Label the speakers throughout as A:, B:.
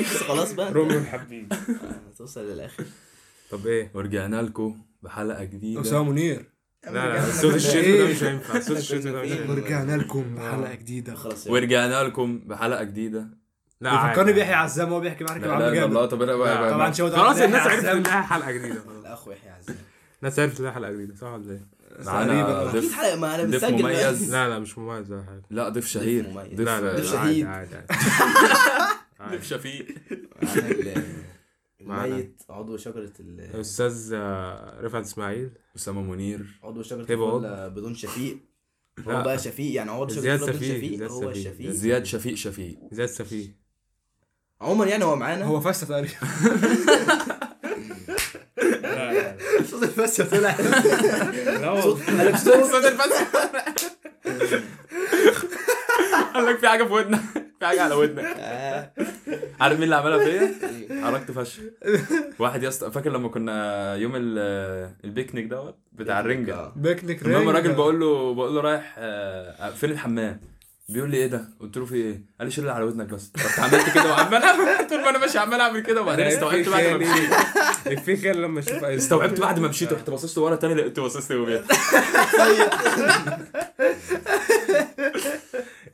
A: بس خلاص بقى آه،
B: روميو الحبيب
A: توصل للاخر
C: طب ايه
D: ورجعنا لكم بحلقه جديده
B: اسامه منير
C: لا لا صوت الشتم ده مش هينفع صوت الشتم ده مش هينفع
B: ورجعنا لكم بحلقه جديده
A: خلاص يلا.
D: ورجعنا لكم بحلقه جديده
C: لا عادي.
B: بيفكرني بيحيى عزام وهو بيحكي معاك
D: لا لا
B: عم
D: لا
B: جابر
D: لا، طب انا
C: لا،
D: بقى-
B: طبعا
D: بقى-
B: شوت
C: خلاص الناس عرفت انها حلقه جديده خلاص.
A: الاخ يحيى عزام
C: الناس عرفت انها حلقه جديده صح ولا ايه؟
D: معانا
A: اكيد
D: ضيف
A: حلقه ما انا
D: ضيف
A: بسجل
D: مميز.
C: لا لا مش مميز ولا حاجه
D: لا ضيف شهير
A: مميز.
D: ضيف
C: لا لا
A: ضيف
C: لا
A: شهيد.
D: لا
C: عادي عادي عادي.
D: ضيف شفيق
C: معنا.
A: الميت عضو شجره ال
C: الاستاذ آه، رفعت اسماعيل
D: اسامه منير
A: عضو شجره
C: هبة عضو.
A: الفل بدون شفيق
C: لا.
A: هو بقى شفيق يعني عضو شجره
C: زياد
A: الفل بدون
C: شفيق،
A: شفيق
C: زياد
A: هو
C: شفيق.
A: الشفيق
D: زياد شفيق شفيق
C: زياد سفيه
A: عموما يعني هو معانا
B: هو فسه تقريبا
A: صوت الفسه طلع
C: لا
A: صوت
C: والله
A: قلب صوت
D: قال لك في حاجه في ودنك في حاجه على ودنك
A: آه.
D: عارف مين اللي عملها فيا؟ حركت فشخ واحد يا اسطى فاكر لما كنا يوم ال- البيكنيك دوت بتاع الرنجه
A: آه.
B: بيكنيك
D: المهم
B: رينج.
D: الراجل بقول له بقول له رايح آه، فين الحمام بيقول لي ايه ده قلت له في ايه قال لي شيل اللي على ودنك بس رحت عملت كده وعمال أعمل- طول ما انا ماشي عمال اعمل كده وبعدين استوعبت بعد ما مشيت
B: في خير لما اشوف
D: استوعبت بعد ما مشيت رحت باصص له ورا تاني لقيت باصص لي وبيت
A: طيب.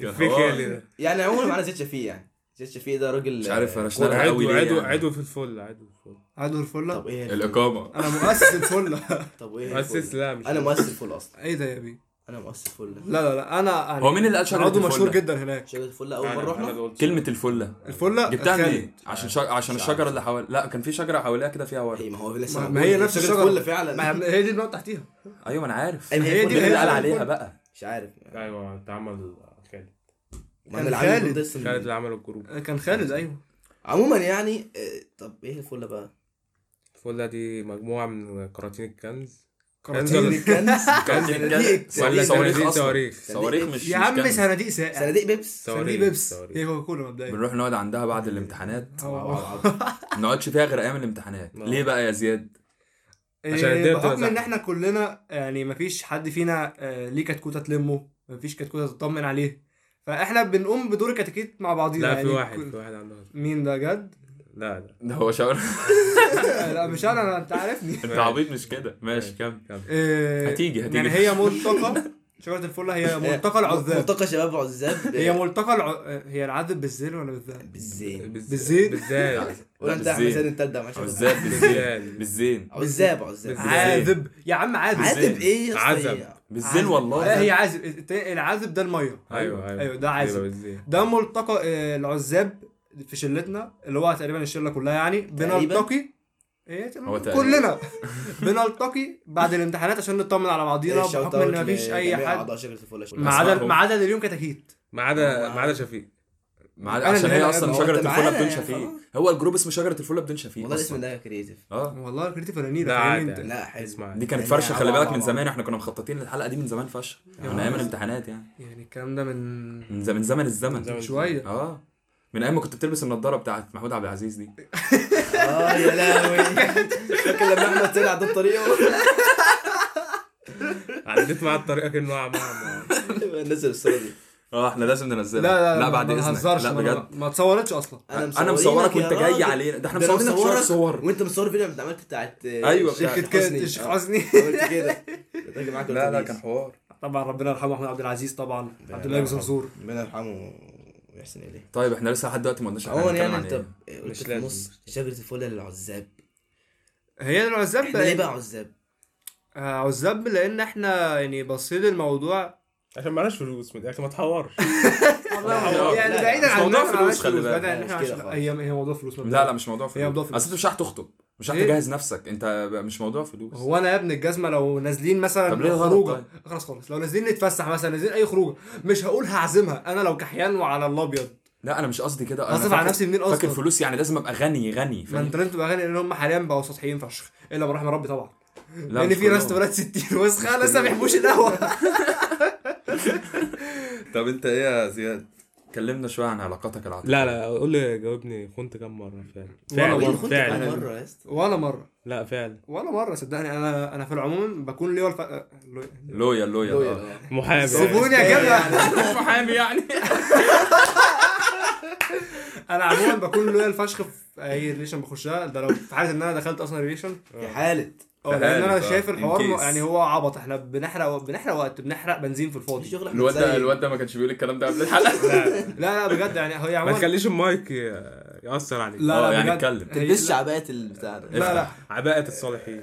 D: كان
B: في
D: حوار.
B: خير ده
A: يعني عموما معانا زياد شفيق يعني زياد شفيق ده راجل
D: مش عارف فرشنا
A: كورة.
D: لها قوي
C: عدو
D: ليه
C: عدو
D: يعني؟
C: عدو في الفل عدو في الفل
B: عدو الفله
A: طب ايه
D: الاقامه
B: انا مؤسس الفله
A: طب ايه
C: مؤسس
A: الفل؟
C: لا مش
A: انا مؤسس الفل اصلا
B: ايه ده يا بيه
A: انا مؤسس الفل
B: لا لا لا انا
D: هو مين اللي قال شجرة
B: عضو
D: الفلة؟
B: مشهور جدا هناك
A: شجره الفل اول مره رحنا
D: كلمه الفله
B: الفله
D: جبتها
B: الخالد.
D: منين عشان شج... عشان الشجره اللي حوالي لا كان في شجره حواليها كده فيها ورد
A: هي إيه، ما هو لسه
B: ما-
A: موجود.
B: ما هي نفس
A: شجرة
B: الشجرة.
A: الفل فعلا
B: ما هي- هي دي اللي بنقعد تحتيها
D: ايوه ما انا عارف
A: أيوة، هي
D: مين
A: دي
D: اللي قال
B: هي-
D: عليها بقى
A: مش عارف
C: ايوه اتعمل خالد
A: ما انا
B: كان
A: العالم
B: خالد.
A: القدس
C: خالد
A: من-
C: اللي عمل الجروب
B: كان خالد ايوه
A: عموما يعني آه، طب ايه الفل بقى
C: الفله دي مجموعه من قراطين الكنز
B: كراتين
C: كان-
B: الكنز
D: ولا
B: ولا
C: صواريخ
D: صواريخ أصلاً.
C: صواريخ
D: صواريخ مش
B: يا
D: مش
B: عم
D: كنز.
B: صناديق ساقع
A: صناديق بيبس
B: صناديق
C: صواريخ
B: بيبس
C: صواريخ.
B: هي كوكا كولا مبدئيا
D: بنروح نقعد عندها بعد الامتحانات
B: أوه.
D: ما نقعدش فيها غير ايام الامتحانات
C: آه.
D: ليه بقى يا زياد
B: إيه،
C: عشان الدنيا بتبقى
B: بحكم ان
C: زحمة.
B: احنا كلنا يعني مفيش حد فينا آه، ليه كتكوته تلمه مفيش كتكوته تطمن عليه فاحنا بنقوم بدور كتاكيت مع بعضينا
C: لا في
B: يعني
C: واحد
B: كل-
C: في واحد عنده واحد.
B: مين ده جد؟
C: لا لا
D: ده هو شاور
B: آه، لا مش انا أنا- انت عارفني
D: انت عبيط مش كده ماشي كمل
B: آه،
D: هتيجي- هتيجي.
B: يعني هي ملتقى شجره الفله هي ملتقى العذاب
A: ملتقى شباب عزاب
B: هي ملتقى الع... آه، هي العذب بالزين ولا بالذات؟
A: بالزين
B: بالزيت.
C: بالزيت
A: ولا انت احمد
D: بالزين.
A: زين التالت ده معلش
D: عزاب بالزين
C: بالزين.
A: اه.
D: بالزين
A: عزاب عزاب
C: بالزين.
B: عاذب يا عم عاذب
A: عازب ايه يا اسطى؟
C: عزب.
A: هي-
D: بالزين
A: عزب.
D: والله
B: لا هي عازب الت- العازب ده الميه
C: ايوه ايوه
B: ايوه ده عازب
C: يبقى بالزيت.
B: ده ملتقى آه، العزاب في شلتنا اللي هو تقريبا الشله كلها يعني
A: تقريباً.
B: بنلتقي ايه
D: هو
B: تقريباً.
D: تقريباً.
B: كلنا بنلتقي بعد الامتحانات عشان نطمن على بعضينا
A: إيه، Shout
B: بحكم ان
A: out
B: مفيش اي
A: لجميع
B: حد
A: أعضاء شجرة الفل
B: ما
D: أسمعهم.
B: عدا ما عدا اليوم كتاكيت
C: ما عدا
B: أيوة.
C: ما عدا شفيق
D: مع-
B: أنا
D: عشان
B: اللي
D: هي
B: هنا
D: اصلا
B: قاعد.
D: شجره
A: هو أنت
D: الفله
A: معانا
D: بدون
A: يعني
D: شفيق
A: خلاص.
D: هو الجروب اسمه شجره الفله بدون شفيق
A: والله الاسم
D: اصلا
A: ده كريتيف
D: اه
B: والله الكريتيف فنانين
C: لا
B: فاهمني
C: عادي.
B: انت
A: لا حلو
C: اسمع
D: دي كانت
A: يعني
D: فرشه خلي
A: عبعة-
D: بالك من
A: عبعة.
D: زمان احنا كنا مخططين للحلقه دي من زمان فشخ من ايام الامتحانات يعني
B: يعني الكلام ده من
D: من زمن زمن الزمن
C: زمن.
B: شويه
D: اه من ايام ما كنت بتلبس النضاره بتاعت محمود عبد العزيز دي
A: اه يا لهوي فاكر لما احمد طلع ده بطريقه
C: عديت مع الطريقه كانه عم عم- عم.
A: نزل الصوره دي
D: اه احنا لازم ننزلها
B: لا لا
D: لا بعد
B: ما
D: اذنك
B: نهزرش
D: لا
B: ما-
D: بجد
B: ما اتصورتش اصلا
D: انا مصورك
A: يا
D: وانت جاي
A: راجل.
D: علينا ده احنا
A: ده أنا
D: مصورينك شويه
A: مصورك
D: صور
A: وانت مصور فيديو اللي عملت بتاعت
D: أيوة، بتاعت
A: شركة
B: كده الشيخ
A: حسني
B: حسني
A: آه، عملت كده راجع معاك الأتوبيس.
D: حوار
B: طبعا ربنا يرحمه محمود عبد العزيز طبعا عبد الله زنزور
A: ربنا يرحمه ويحسن اليه
D: طيب احنا لسه لحد دلوقتي ما قلناش
A: عموما
D: هنتكلم
A: يعني
D: عن
A: انت
D: ايه.
A: ب- قلت في
C: لازم.
A: النص شجره الفل للعزاب
B: هي العزاب
A: احنا ليه بقى
B: بقى
A: عزاب؟
B: آه، عزاب لان احنا يعني باصين للموضوع
C: عشان معناش فلوس من الاخر ما تحورش
A: لا،
B: يعني
A: لا،
B: بعيدا
A: مش
B: عن
D: موضوع
B: إن إحنا
D: فلوس،
B: معاش
D: خلي بالك.
B: بعيداً عن إن إحنا
A: مش كده
B: معاش-
A: خالص.
B: هي هي موضوع فلوس
D: لا لا مش موضوع
B: هي موضوع
D: فلوس
B: فلوس.
D: اصل انت مش رايح تخطب مش رايح
B: يعني إيه؟
D: تجهز نفسك انت بقى مش موضوع فلوس
B: هو انا يا ابن الجزمه لو نازلين مثلا
D: طب ليه طيب. الغرض
B: خروجه خلاص خالص لو نازلين نتفسح مثلا نازلين اي خروجه مش هقول هعزمها انا لو كحيان وعلى الابيض
D: لا انا مش قصدي كده انا
B: هصرف
D: فاكر-
B: على نفسي منين
D: فاكر
B: اصلا
D: فلوس يعني لازم ابقى غني غني
B: ما
D: فاهم
B: انت لازم تبقى غني لان هم حاليا بقوا سطحيين فشخ الا برحم ربي طبعا
D: لا
B: لان
D: مش
B: في ناس
D: كلهم.
B: تولد 60 وسخه لسه ما بيحبوش القهوه
D: طب انت ايه يا زياد كلمنا شويه عن علاقاتك العاطفيه
C: لا لا قول لي جاوبني خنت كام مره فعلا فعلا
B: والله مرة.
A: كنت كام
C: فعلا
A: مره يا اسطى
B: ولا مره
C: لا فعلا
B: ولا مره صدقني انا انا في العموم بكون ليا الف...
D: لويا لويا آه.
B: طيب.
A: لويا.
C: محامي
B: سيبوني يا جدع
C: محامي يعني
B: انا عموما بكون لويال فشخ في اي ريليشن بخشها ده لو في حاله ان انا دخلت اصلا ريليشن
A: في حالة
B: اه لان انا
D: فعلاً،
B: شايف
D: آه، in
B: الحوار
D: case.
B: يعني هو عبط احنا بنحرق بنحرق وقت بنحرق بنزين في الفاضي
A: شغل
D: الواد ده الواد ده ما كانش بيقول الكلام ده قبل الحلقه
B: آه. لا لا بجد يعني هي
C: ما
B: عموما
C: تخليش المايك ي- يأثر عليك
B: لا،
D: اه
B: لا،
D: يعني
B: بجد.
D: اتكلم
B: هي-
A: تلبسش عبايات البتاع ده
B: لا لا
C: عباءة الصالحين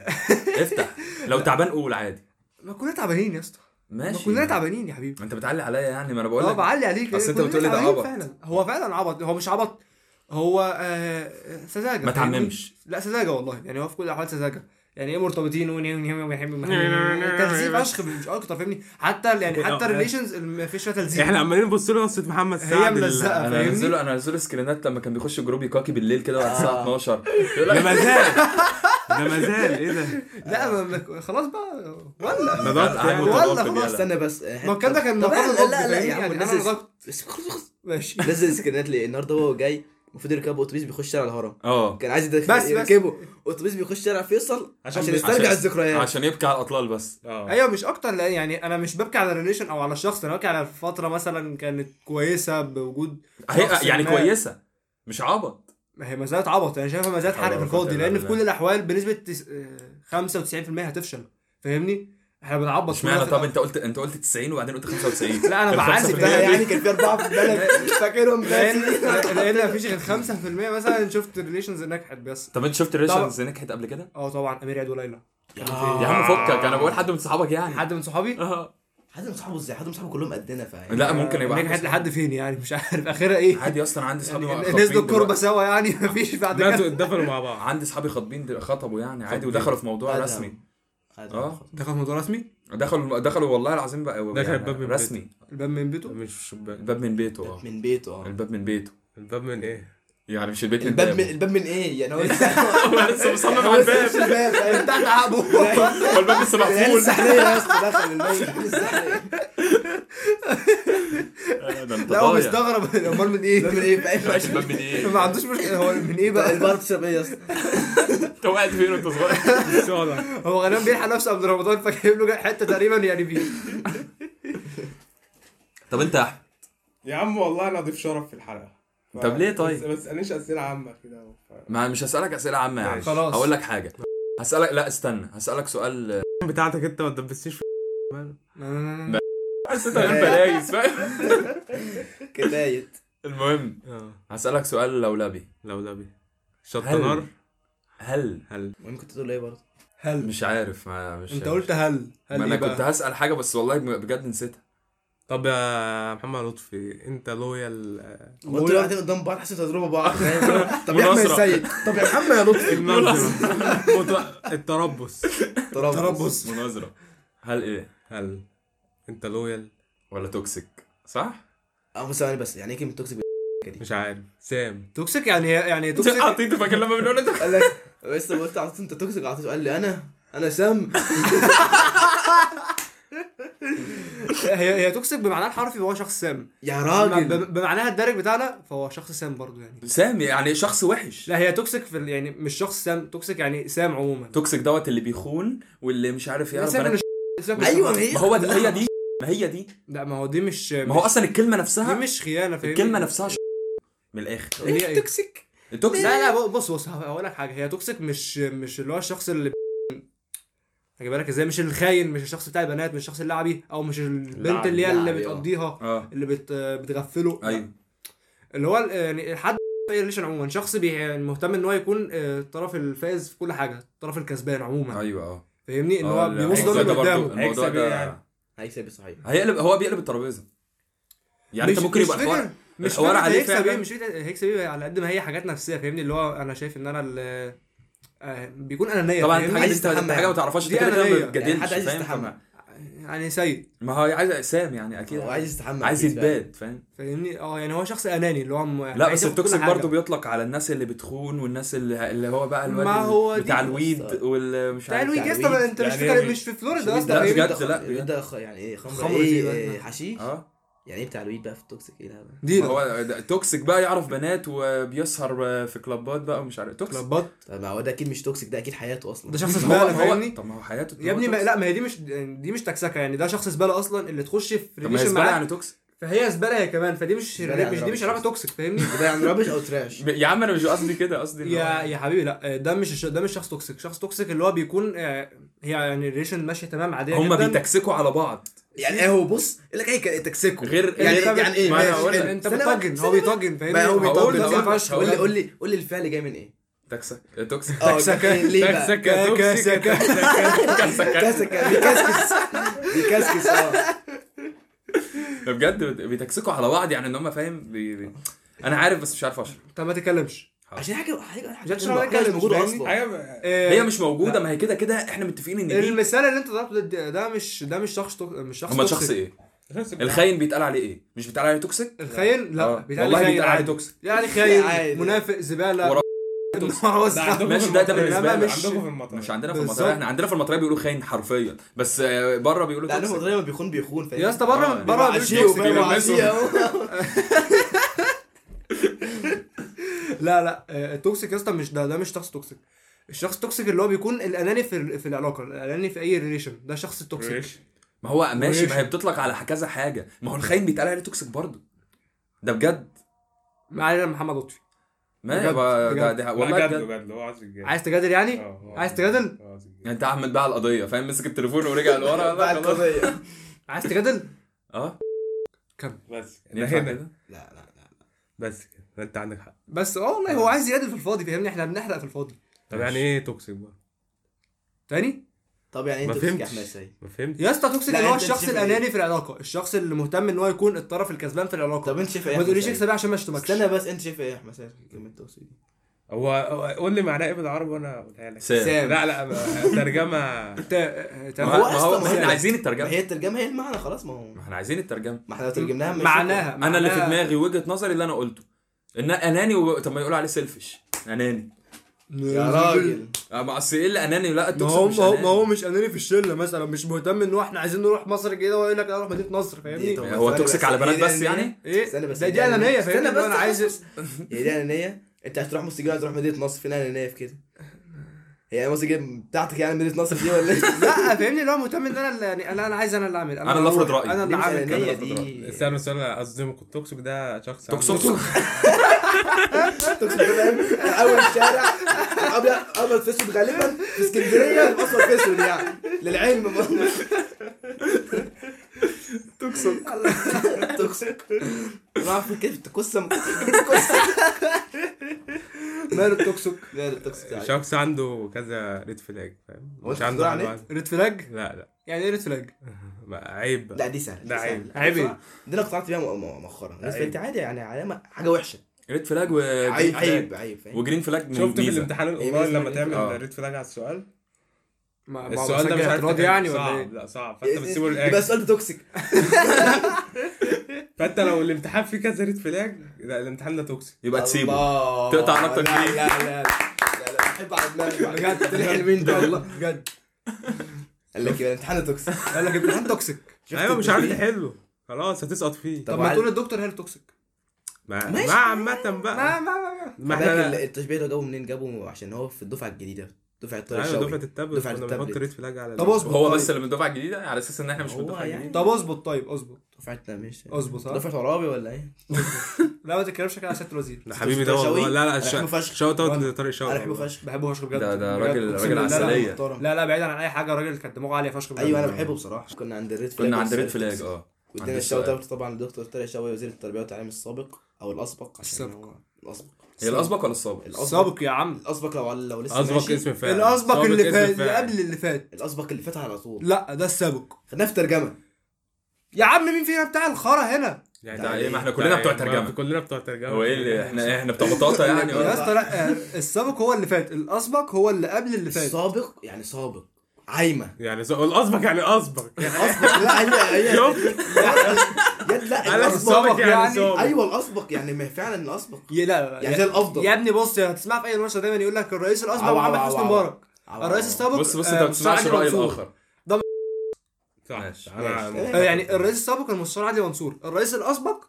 D: افتح لو تعبان قول عادي
B: ما كلنا تعبانين يا اسطى ما
D: ماشي
B: كلنا تعبانين يا حبيبي
D: ما انت بتعلي عليا يعني ما انا بقول
B: اه
D: لك
B: بعلي عليك
C: أصل أنت
B: كلنا
D: إيه
C: بتقولي ده
B: تعبانين
C: عبط.
B: فعلا هو فعلا عبط هو مش عبط هو آه، سذاجه
D: ما
B: فاهمني؟
D: تعممش.
B: لا سذاجه والله يعني هو في كل الاحوال سذاجه يعني ايه مرتبطين وني وني وني بيحب تلزيق فشخ مش اكتر فاهمني حتى يعني حتى الريليشنز ما فيش فيها تلزيق
C: احنا عمالين نبص له نصة محمد
B: هي
C: سعد ال-
B: ملزقة.
D: انا
B: آه، فاهمني؟
D: انزله انا انزله سكرينات لما كان بيخش جروب يكاكي بالليل كده بعد
B: آه.
D: الساعه 12 يقول
C: ده
D: لك
C: مازال ده مازال ايه ده؟
B: لا ما- ما- خلاص بقى ولا
C: ده ضغط
D: قاعد
C: يعني.
D: متضايق
B: والله
D: يلا.
B: خلاص
A: استنى بس
B: ما الكلام ده كان
A: طب
B: مرتبط
A: لا
B: ضغط،
A: لا لا يا
B: فاهمني؟
A: عم
B: يعني أنا
A: نزل
B: ضغط.
A: بس خلاص خلاص
B: ماشي
A: نزل سكرينات ليه النهارده هو جاي المفروض يركب اتوبيس بيخش شارع الهرم
D: اه
A: كان عايز يدخل
B: بس- بس.
A: يركبه اتوبيس بيخش شارع فيصل عشان,
C: عشان- عشان-
A: يسترجع الذكريات
D: عشان يبكي على الاطلال بس
C: اه
B: ايوه مش اكتر لان يعني انا مش ببكي على الريليشن او على الشخص انا ببكي على فتره مثلا كانت كويسه بوجود شخص
D: هي يعني
B: ما.
D: كويسه مش عبط
B: ما هي ما زالت عبط انا شايفها ما زالت حرق في
D: حرام،
B: الفاضي
D: قاتل
B: لان في
D: الله.
B: كل الاحوال بنسبه تس- آه، 95% هتفشل فاهمني احنا بنعبط
D: اشمعنى
B: كلنا في-
D: طب انت قلت انت قلت 90 وبعدين قلت 95
B: لا انا بعذب
A: ده
B: ده يعني
A: يعني كان في اربعه في البلد مش فاكرهم
B: لان
A: دلوقتي.
B: لان مفيش غير 5% مثلا شفت الريليشنز نجحت بس
D: طب انت شفت ريشنز نجحت قبل كده؟
B: اه طبعا امير عيد وليلى
D: يا عم فكك انا بقول حد من صحابك يعني
B: حد من صحابي
D: آه.
A: حد من صحابه ازاي؟ حد من صحابه كلهم قدنا فاهم
D: لا ممكن يبقى
B: نجحت
D: عندي
B: لحد فين يعني مش عارف اخرها ايه
D: صحاب- عادي اصلا عندي صحابي
B: يعني
D: خاطبين
B: نزلوا الكربه
D: دلوقتي.
B: سوا يعني مفيش بعد
C: ماتوا
B: كده
C: اتدفنوا مع بعض
D: عندي صحابي خاطبين دل- خطبوا يعني عادي
A: خاطبين.
D: ودخلوا في موضوع
A: عادي
D: رسمي
A: اه
D: اه
B: دخل موضوع رسمي
D: دخلوا دخلوا والله العظيم بقى
C: دخل
D: يعني
C: الباب من
D: رسمي
B: الباب من بيته
C: مش شباك
D: الباب من بيته اه
A: من بيته اه
D: الباب من بيته
C: الباب من ايه؟
D: يعني مش البيت من
A: الباب من
D: بابه
A: الباب من ايه؟ يعني هو لسه
D: هو لسه مصمم
A: هو
D: على
A: لسه مش
D: الباب
A: الباب فاهم؟
B: بتاع تعبه
D: هو الباب لسه
A: العيال
D: مقفول
A: السحريه يا اسطى دخل الباب السحريه
D: آه، ده انت
B: لا هو
D: ضايع
B: مستغرب امال من ايه؟
A: الباب من ايه فاهم؟
D: ماشي الباب من ايه؟
B: ما عندوش مشكله هو من ايه
A: بقى
B: بقى؟
A: البار بتشرب ايه يا اسطى؟
D: انت وقعت فين وانت صغير؟
C: شغلك
B: هو غالبا بيلحق نفسه قبل رمضان فجايب له حته تقريبا يعني فيه
D: طب انت يا احمد
C: يا عم والله انا ضيف شرف في الحلقه ف-
D: طب ليه طيب؟
C: بس- ما تسالنيش اسئله عامه كده ف-
D: ما مش هسألك أسئلة عامة يعني
C: ماشي.
B: خلاص.
D: هقول لك حاجة هسألك لا استنى هسألك سؤال
C: بتاعتك انت ما تدبسيش في
D: بس انت بلايز فاهم
A: كدايت
D: المهم
C: اه
D: هسألك سؤال لولبي
C: لولبي
D: هل-
C: شطنار
D: هل
C: هل
A: المهم كنت تقول ايه برضه؟
B: هل
D: مش عارف ما مش
B: انت قلت هل
D: ما
B: هل
D: انا
B: ايه
D: كنت
B: بقى؟
D: هسأل حاجة بس والله بجد نسيتها
C: طب يا محمد لطفي انت لويال
A: هو انتوا قاعدين قدام بعض حاسين تضربوا بعض فاهم؟ طب يا احمد
D: ونصرة.
A: السيد طب يا محمد يا لطفي
C: المنظمة مطلق التربص
A: تربص
D: مناظرة هل ايه
C: هل انت لويال
D: ولا توكسيك صح؟
A: اه بس ثواني بس يعني ايه كلمه توكسيك
C: مش عارف سام
B: توكسيك يعني يعني توكسيك
D: عطيته فاكر لما بنقول انت
A: قال لك بس لما قلت عطيت انت توكسيك عطيته قال لي انا انا سام
B: هي هي توكسيك بمعناها الحرفي فهو شخص سام
A: يا
B: بم-
A: راجل
B: بمعناها الدارج بتاعنا فهو شخص سام برضو يعني
D: سامي يعني شخص وحش
B: لا هي توكسيك في ال- يعني مش شخص سام توكسيك يعني سام عموما
D: توكسيك دوت اللي بيخون واللي مش عارف يعرف
B: سام
D: بنات-
B: مش- سام مش-
A: ايوه ما هي
D: ما هو ده هي دي ما هي دي
B: لا ما هو دي مش
D: ما هو
B: مش-
D: اصلا الكلمة
B: دي
D: نفسها
B: مش خيانه فاهمني
D: الكلمة نفسها ش- من الاخر
B: هي ايه؟
A: توكسيك
D: التوكسيك
B: لا لا بص بص هقول لك حاجه هي توكسيك مش مش اللي هو الشخص اللي هجيبها لك ازاي مش الخاين مش الشخص بتاع البنات مش الشخص اللعبي او مش البنت اللي هي اللي
D: لعبي، اه.
B: بتقضيها
D: اه
B: اللي بت بتغفله لا.
D: ايوه
B: اللي هو ال- يعني الحد اي ريليشن عموما شخص بي يعني مهتم ان هو يكون آه، الطرف الفائز في كل حاجه الطرف الكسبان عموما
D: ايوه اه
B: فاهمني ان
D: آه،
B: هو
D: لا،
B: بيبص
D: الموضوع
B: ده
D: ده
B: اللي
D: برضو-
B: قدامه
D: الموضوع
C: هيكسب ايه يعني؟
D: ده
A: هيكسب صحيح
D: هيقلب هو بيقلب الترابيزه يعني انت
B: مش-
D: ممكن
B: مش
D: يبقى الحوار
B: فكرة- مش
D: الحوار
B: فكرة
D: عليه
B: هيكسب
D: فعلا.
B: ايه مش فكرة هيكسب ايه على قد ما هي حاجات نفسيه فاهمني اللي هو انا شايف ان انا ال- آه، بيكون انانيه
D: طبعا
B: فاهمني؟
D: الحاجه دي
A: عايز
D: انت انت
A: يستحمى
D: حاجه ما تعرفهاش انت
B: دي
D: كده كده
B: أنانية.
D: ما
A: يعني
D: بتجادلش
A: حد عايز
D: فاهم
A: يستحمى
B: يعني سيء
D: فما هو عايز سام يعني اكيد
A: هو عايز يستحمى
D: عايز يتباد فاهم
B: فاهمني اه يعني هو شخص اناني اللي هو م-
D: لا
B: عايز
D: بس
B: ياخد كل
D: التوكسيك
B: حاجة.
D: برضه بيطلق على الناس اللي بتخون والناس اللي, اللي هو بقى الواد
B: ما هو دي
D: بتاع
B: بص-
D: الويد والمش
B: تعال
D: عارف
B: ويك يا اسطى
A: تعويض.
B: ما انت مش
C: يعني
B: في
C: ايه؟
B: مش في فلوريدا
D: لا،
B: اصلا فاهمني؟
D: بجد، لا، بجد.
A: إيه ده خ- يعني ايه خمره
B: خمرة
A: ايه
B: إيه
A: إيه،
B: بقى؟
A: حشيش
D: اه
A: يعني ايه بتاع الويد بقى في التوكسيك ايه ده بقى؟
B: دي
D: ما هو ده- توكسيك بقى يعرف بنات وبيسهر في كلابات بقى ومش عارف توكسيك
B: كلبات
A: طب ما هو ده اكيد مش توكسيك ده اكيد حياته اصلا
B: ده
D: ما
B: شخص
D: هو-
B: زباله
D: ما هو-
B: فاهمني
D: طب ما هو حياته
B: يا ابني ما
D: توكسيك.
B: لا ما هي دي مش دي مش تكسكه يعني ده شخص زباله اصلا اللي تخش في
D: طب ما هي
B: ريليشن
D: زبالة
B: معاه
D: يعني توكسيك
B: فهي زباله هي كمان فدي مش
A: زبالة يعني
B: مش دي مش
A: rubbish.
B: علاقه توكسيك فاهمني
A: ده يعني رابش او تراش
D: يا عم انا مش قصدي كده قصدي إن
B: يا
D: هو-
B: يا حبيبي لا ده مش ده مش شخص توكسيك شخص توكسيك اللي هو بيكون آه، هي يعني الريليشن ماشيه تمام عاديه
D: هما
B: جدا
D: بيتكسكوا على بعض
A: يعني ايه هو بص يقول لك ايه تكسكه
D: غير-
A: يعني
B: غير-
A: يعني ايه
D: ما أنا
A: ماشي،
D: هقول لك،
A: حلو.
B: انت
A: استنى بقى،
B: بتطجن هو
A: استنى بقى.
B: بيطجن فاهمني
A: بقى هو
D: هقول-
A: بيطول
D: هقول-
B: بيطجن فشخ.
A: قول
D: هقول-
A: لي قول لي قول لي الفعل جاي من ايه؟
D: تكسك توكسيك
A: اه
B: تكسكة.
A: ليه بقى؟
D: تكسك يا توكسيك يا
B: تكسك.
D: تكسك تكسك
A: كاسكا بيكسكس بيكسكس اه
D: بجد بت- بيتكسكوا على بعض يعني ان هم فاهم بي... بي... انا عارف بس مش عارف اشرح
B: طب ما تتكلمش
A: عشان حاجه حاجه
B: عشان
A: حاجه
B: شرع
A: حاجة مش
B: الكلام،
A: موجوده
B: فاهمني؟
A: اصلا
C: ايوه
B: آه،
D: هي مش موجوده ما هي كده كده احنا متفقين ان دي
B: المثال اللي انت ضربته ده ده مش ده مش شخص توك- مش شخص
D: امال
B: توكسيك.
D: شخص ايه الخاين بيتقال عليه ايه مش بيتقال عليه توكسيك
B: الخاين لا
D: آه.
B: بيتقال
D: والله
B: خاين
D: بيتقال عليه
B: عادي.
D: توكسيك
B: يعني
A: عادي.
B: خاين منافق زباله
D: ورا-
B: نعوز.
D: ماشي، ده- ده بالنسبة
B: لي.
C: مش عندكم في المطار
D: مش عندنا في
B: بالظبط.
D: المطريه احنا عندنا في المطريه بيقولوا خاين حرفيا بس آه، بره بيقولوا
A: لانه
D: توكسيك
A: مدري لما بيخون بيخون فاهم
B: يا اسطى
D: آه،
B: بره بره
D: بيبقى
B: بيقول
D: عشيق.
A: عشيه
B: توكسيك.
A: فاهم
D: بيبقى
A: عشيه
B: لا لا آه، التوكسيك يا اسطى مش ده ده مش شخص توكسيك الشخص التوكسيك اللي هو بيكون الاناني في في العلاقه الاناني في اي ريليشن ده شخص توكسيك
D: ما هو ماشي ما هي
B: ماشي.
D: بتطلق على كذا حاجه ما هو الخاين بيتقال عليه توكسيك برضه ده بجد
B: ما علينا من محمد لطفي
D: ما
B: بجد،
D: يبقى- ده
B: بجد.
D: ده والله
C: والله جد
D: بجد
C: بجد هو عايز يتجوز
B: عايز تجادل يعني
C: آه، هو
B: عايز
C: يتجوز.
B: تجادل؟
C: هو عايز يتجوز.
D: يعني انت احمد بقى على القضيه فاهم مسك التليفون ورجع لورا
A: بقى
D: لا، خلاص.
A: القضيه
B: عايز تجادل
D: اه
C: بس كده.
D: ينفع
C: هنا.
D: كده؟
A: لا لا لا
C: بس كده انت عندك حق
B: بس اه والله
D: آه.
B: هو عايز يجادل في الفاضي فاهمني احنا بنحرق في الفاضي
C: طب يعني ايه توكسيك بقى؟
B: تاني
A: طب يعني
C: ما
A: انت بتحكي احمد
C: فهمتش
A: ازاي
C: ما فهمتش
B: يا اسطى توكسيك
A: لا،
B: اللي هو
A: انت
B: الشخص
A: شايف ايه؟
B: الاناني في العلاقه الشخص اللي مهتم ان هو يكون الطرف الكسبان في العلاقه
A: طب انت شايف ايه
B: ما
A: احمد
B: تقوليش
A: سعيد؟
B: اكسب إيه عشان ما اشتمكش
A: استنى بس انت شايف ايه يا احمد سعيد في كلمه توصيل دي؟
C: هو هو قول لي معناه ايه بالعربي وانا اقولها لك
D: سام
A: سام.
C: لا لا ما- ترجمه
B: تا- آه، تا-
D: ما
A: هو
D: هو, ما هو
A: أصلاً
D: ما احنا
A: سام.
D: عايزين
A: ما
D: الترجمه
A: هي الترجمه هي المعنى خلاص ما هو
D: ما احنا عايزين الترجمه
A: ما احنا لو ترجمناها مش
B: معناها
D: انا اللي في
B: معناها-
D: دماغي وجهه نظري اللي انا قلته ان اناني و... طب ما يقولوا عليه سيلفش اناني
A: يا راجل
D: آه، ما اصل ايه اللي اناني لا
B: ما هو
D: التوكسيك مش
B: ما هو
D: اناني
B: ما هو مش اناني في الشله مثلا مش مهتم ان هو احنا عايزين نروح مصر الجديده ويقول لك انا اروح مدينه نصر
A: دي-
B: فاهمني
A: طب
D: هو
A: استنى
D: توكسيك
A: بس.
D: على بنات
A: ايه
D: بس
A: ده؟
D: يعني
B: ايه
A: استنى بس
B: ده دي
A: يعني-
B: انانيه
A: استنى
B: فاهمني
A: بس،
B: اللي هو انا
A: استنى
B: عايز
A: هي يعني دي انانيه انت هتروح مصر الجديده تروح مدينه نصر فين انانيه في كده هي مصر الجديده بتاعتك يعني مدينه نصر دي ولا ايه
B: لا فاهمني اللي هو مهتم ان انا اللي يعني انا انا عايز انا اللي اعمل
D: أنا اللي أفرض رأيي.
B: انا
A: دي
B: اللي
A: مش
B: اعمل
A: انانيه
B: كده
A: دي
C: استنى استنى قصدي ممكن التوكسيك ده شخص عنده-
D: توكسيك
A: توكسيك ده فاهم؟ اول شارع ابيض ابيض في اسود غالبا في اسكندريه اصلا في اسود يعني للعلم توكسيك توكسيك انا اعرف كيف تقسم
B: ماله التوكسيك
A: لا لا توكسيك عادي.
C: شخص عنده كذا ريد فلاج فاهم
A: هو أنت
C: مش عنده
A: بتدور
C: حاجة
A: عليه؟
C: واحدة.
B: ريد فلاج
C: لا لا
B: يعني ايه ريد فلاج
C: ما- عيب
A: لا
C: بقى.
A: دي سهله
C: ده
A: دي
C: عيب.
A: سهلة.
B: عيب
A: بصراحة
B: ايه؟
A: دي انا اقتنعت بيها م- م- مؤخرا بس
C: عيب.
A: انت عادي يعني علامه حاجه وحشه
D: ريد فلاج و
A: عيب
D: green flag.
A: عيب عيب فاهم؟
D: وجرين فلاج
C: شفت في
D: ميزه
C: الامتحان
A: إيه مثلا
C: الاونلاين لما
A: إيه؟
D: آه.
C: تعمل ريد فلاج على السؤال
B: ما ما
C: السؤال ده مش عارف
B: اعتراض
C: تحل.
B: يعني ولا
C: صعب
B: ايه
C: لا صعب
A: إيه،
C: فانت بتسيبه
A: يبقى
C: للاخر
A: السؤال ده توكسيك
C: فانت لو الامتحان فيه كذا ريد فلاج لا الامتحان ده توكسيك
D: يبقى تسيبه
A: الله.
D: تقطع علاقتك
A: لا
D: بيه.
A: لا لا لا لا لا بحب على دماغي
B: بجد الحلوين ده والله بجد
A: قال لك يبقى الامتحان توكسيك
B: قال لك الامتحان توكسيك
A: شفت
C: ايوه مش عارف
B: إيه؟
A: الدنيا؟
C: تحله خلاص هتسقط فيه
A: طب
B: طب ما
A: عل-
B: تقول الدكتور هي توكسيك
C: ما
A: ماشي.
C: ما عامة بقى ما
A: لكن
C: احنا
A: التشبيه ده جابه منين؟ جابه عشان هو في الدفعه الجديده دفعه طارق
C: ايوه
A: الشوقي
C: دفعة التابلت
A: دفعة
C: كنا
A: التابلت.
C: بنحط ريد فلاج على
B: طب اصبر
D: هو
B: طيب.
D: بس اللي من الدفعه الجديده على اساس ان احنا مش من
A: هو
D: الدفعه
A: يعني.
D: الجديده
B: طب اظبط طيب اظبط
A: دفعتنا مش
B: اظبط ها
A: دفعه عرابي ولا ايه؟
B: لا ما تتكلمش كده على سياده الوزير
C: ده حبيبي ده
A: طارق
C: والله
A: شوقي.
C: لا لا
A: أنا بحبه
C: شا-
A: فشخ.
C: شوت اوت
B: وأنا-
C: لطارق شوقي
A: انا بحبه
C: والله.
A: فشخ
B: بحبه فشخ بجد
D: ده ده
B: بجد.
D: راجل
B: أقسم
D: راجل
B: بالله لا،
D: عسليه
A: محترم.
B: لا لا بعيدا عن اي حاجه الراجل كان دماغه عاليه فشخ بجد.
A: ايوه انا بحبه بصراحه كنا عند الريد فلاج
D: كنا عند
A: بس
D: ريد فلاج
A: توكسيك.
D: اه
A: وادينا
D: عند
A: الشوت
D: السؤال.
A: اوت طبعا لدكتور طارق الشوقي وزير التربيه والتعليم السابق او الاسبق عشان
B: السابق.
A: هو الاسبق
D: هي الاسبق ولا السابق؟
B: السابق يا عم
A: الاسبق لو لو لسه
C: اسبق
A: ماشي.
C: اسم فعل
B: الاسبق اللي
C: اسم
B: فات
C: فاعل.
B: اللي قبل اللي فات
A: الاسبق اللي فات على طول
B: لا ده السابق
A: خدناه في ترجمه
B: يا عم مين فينا بتاع الخرا هنا
C: يعني
D: ده
C: ده
D: ايه ما احنا
C: ده
D: كلنا
C: إيه؟
D: بتوع
C: ما
D: ترجمه
C: كلنا بتوع ترجمه
D: هو ايه اللي احنا احنا بتوع بطاطا يعني
B: يا
D: ولا
B: اسطى لا آه، السابق هو اللي فات الاسبق هو اللي قبل اللي فات
A: السابق يعني سابق عايمه
C: يعني ز- الاسبق يعني اسبق
A: الاسبق لا هي هي
C: شوف
A: يد- لا
C: انا
A: الاسبق
C: السابق يعني
B: يعني.
C: سابق
A: ايوه الاسبق يعني ما فعلا الاسبق
B: يا- لا لا
A: يعني
B: لا
A: ده
B: يا-
A: الافضل
B: يا ابني بص يا هتسمع في اي مناقشه دايما يقول لك الرئيس الاسبق
A: عوا-
B: محمد
A: عوا-
B: حسني
A: عوا-
B: مبارك
A: عوا-
B: الرئيس السابق
D: بص بص
B: آه،
D: انت ما
B: مستشار
D: بتسمعش
B: عدلي
D: راي
B: منصور.
D: الاخر ماشي.
C: صح
A: ماشي.
B: آه، يعني الرئيس السابق المستشار عدلي منصور الرئيس الاسبق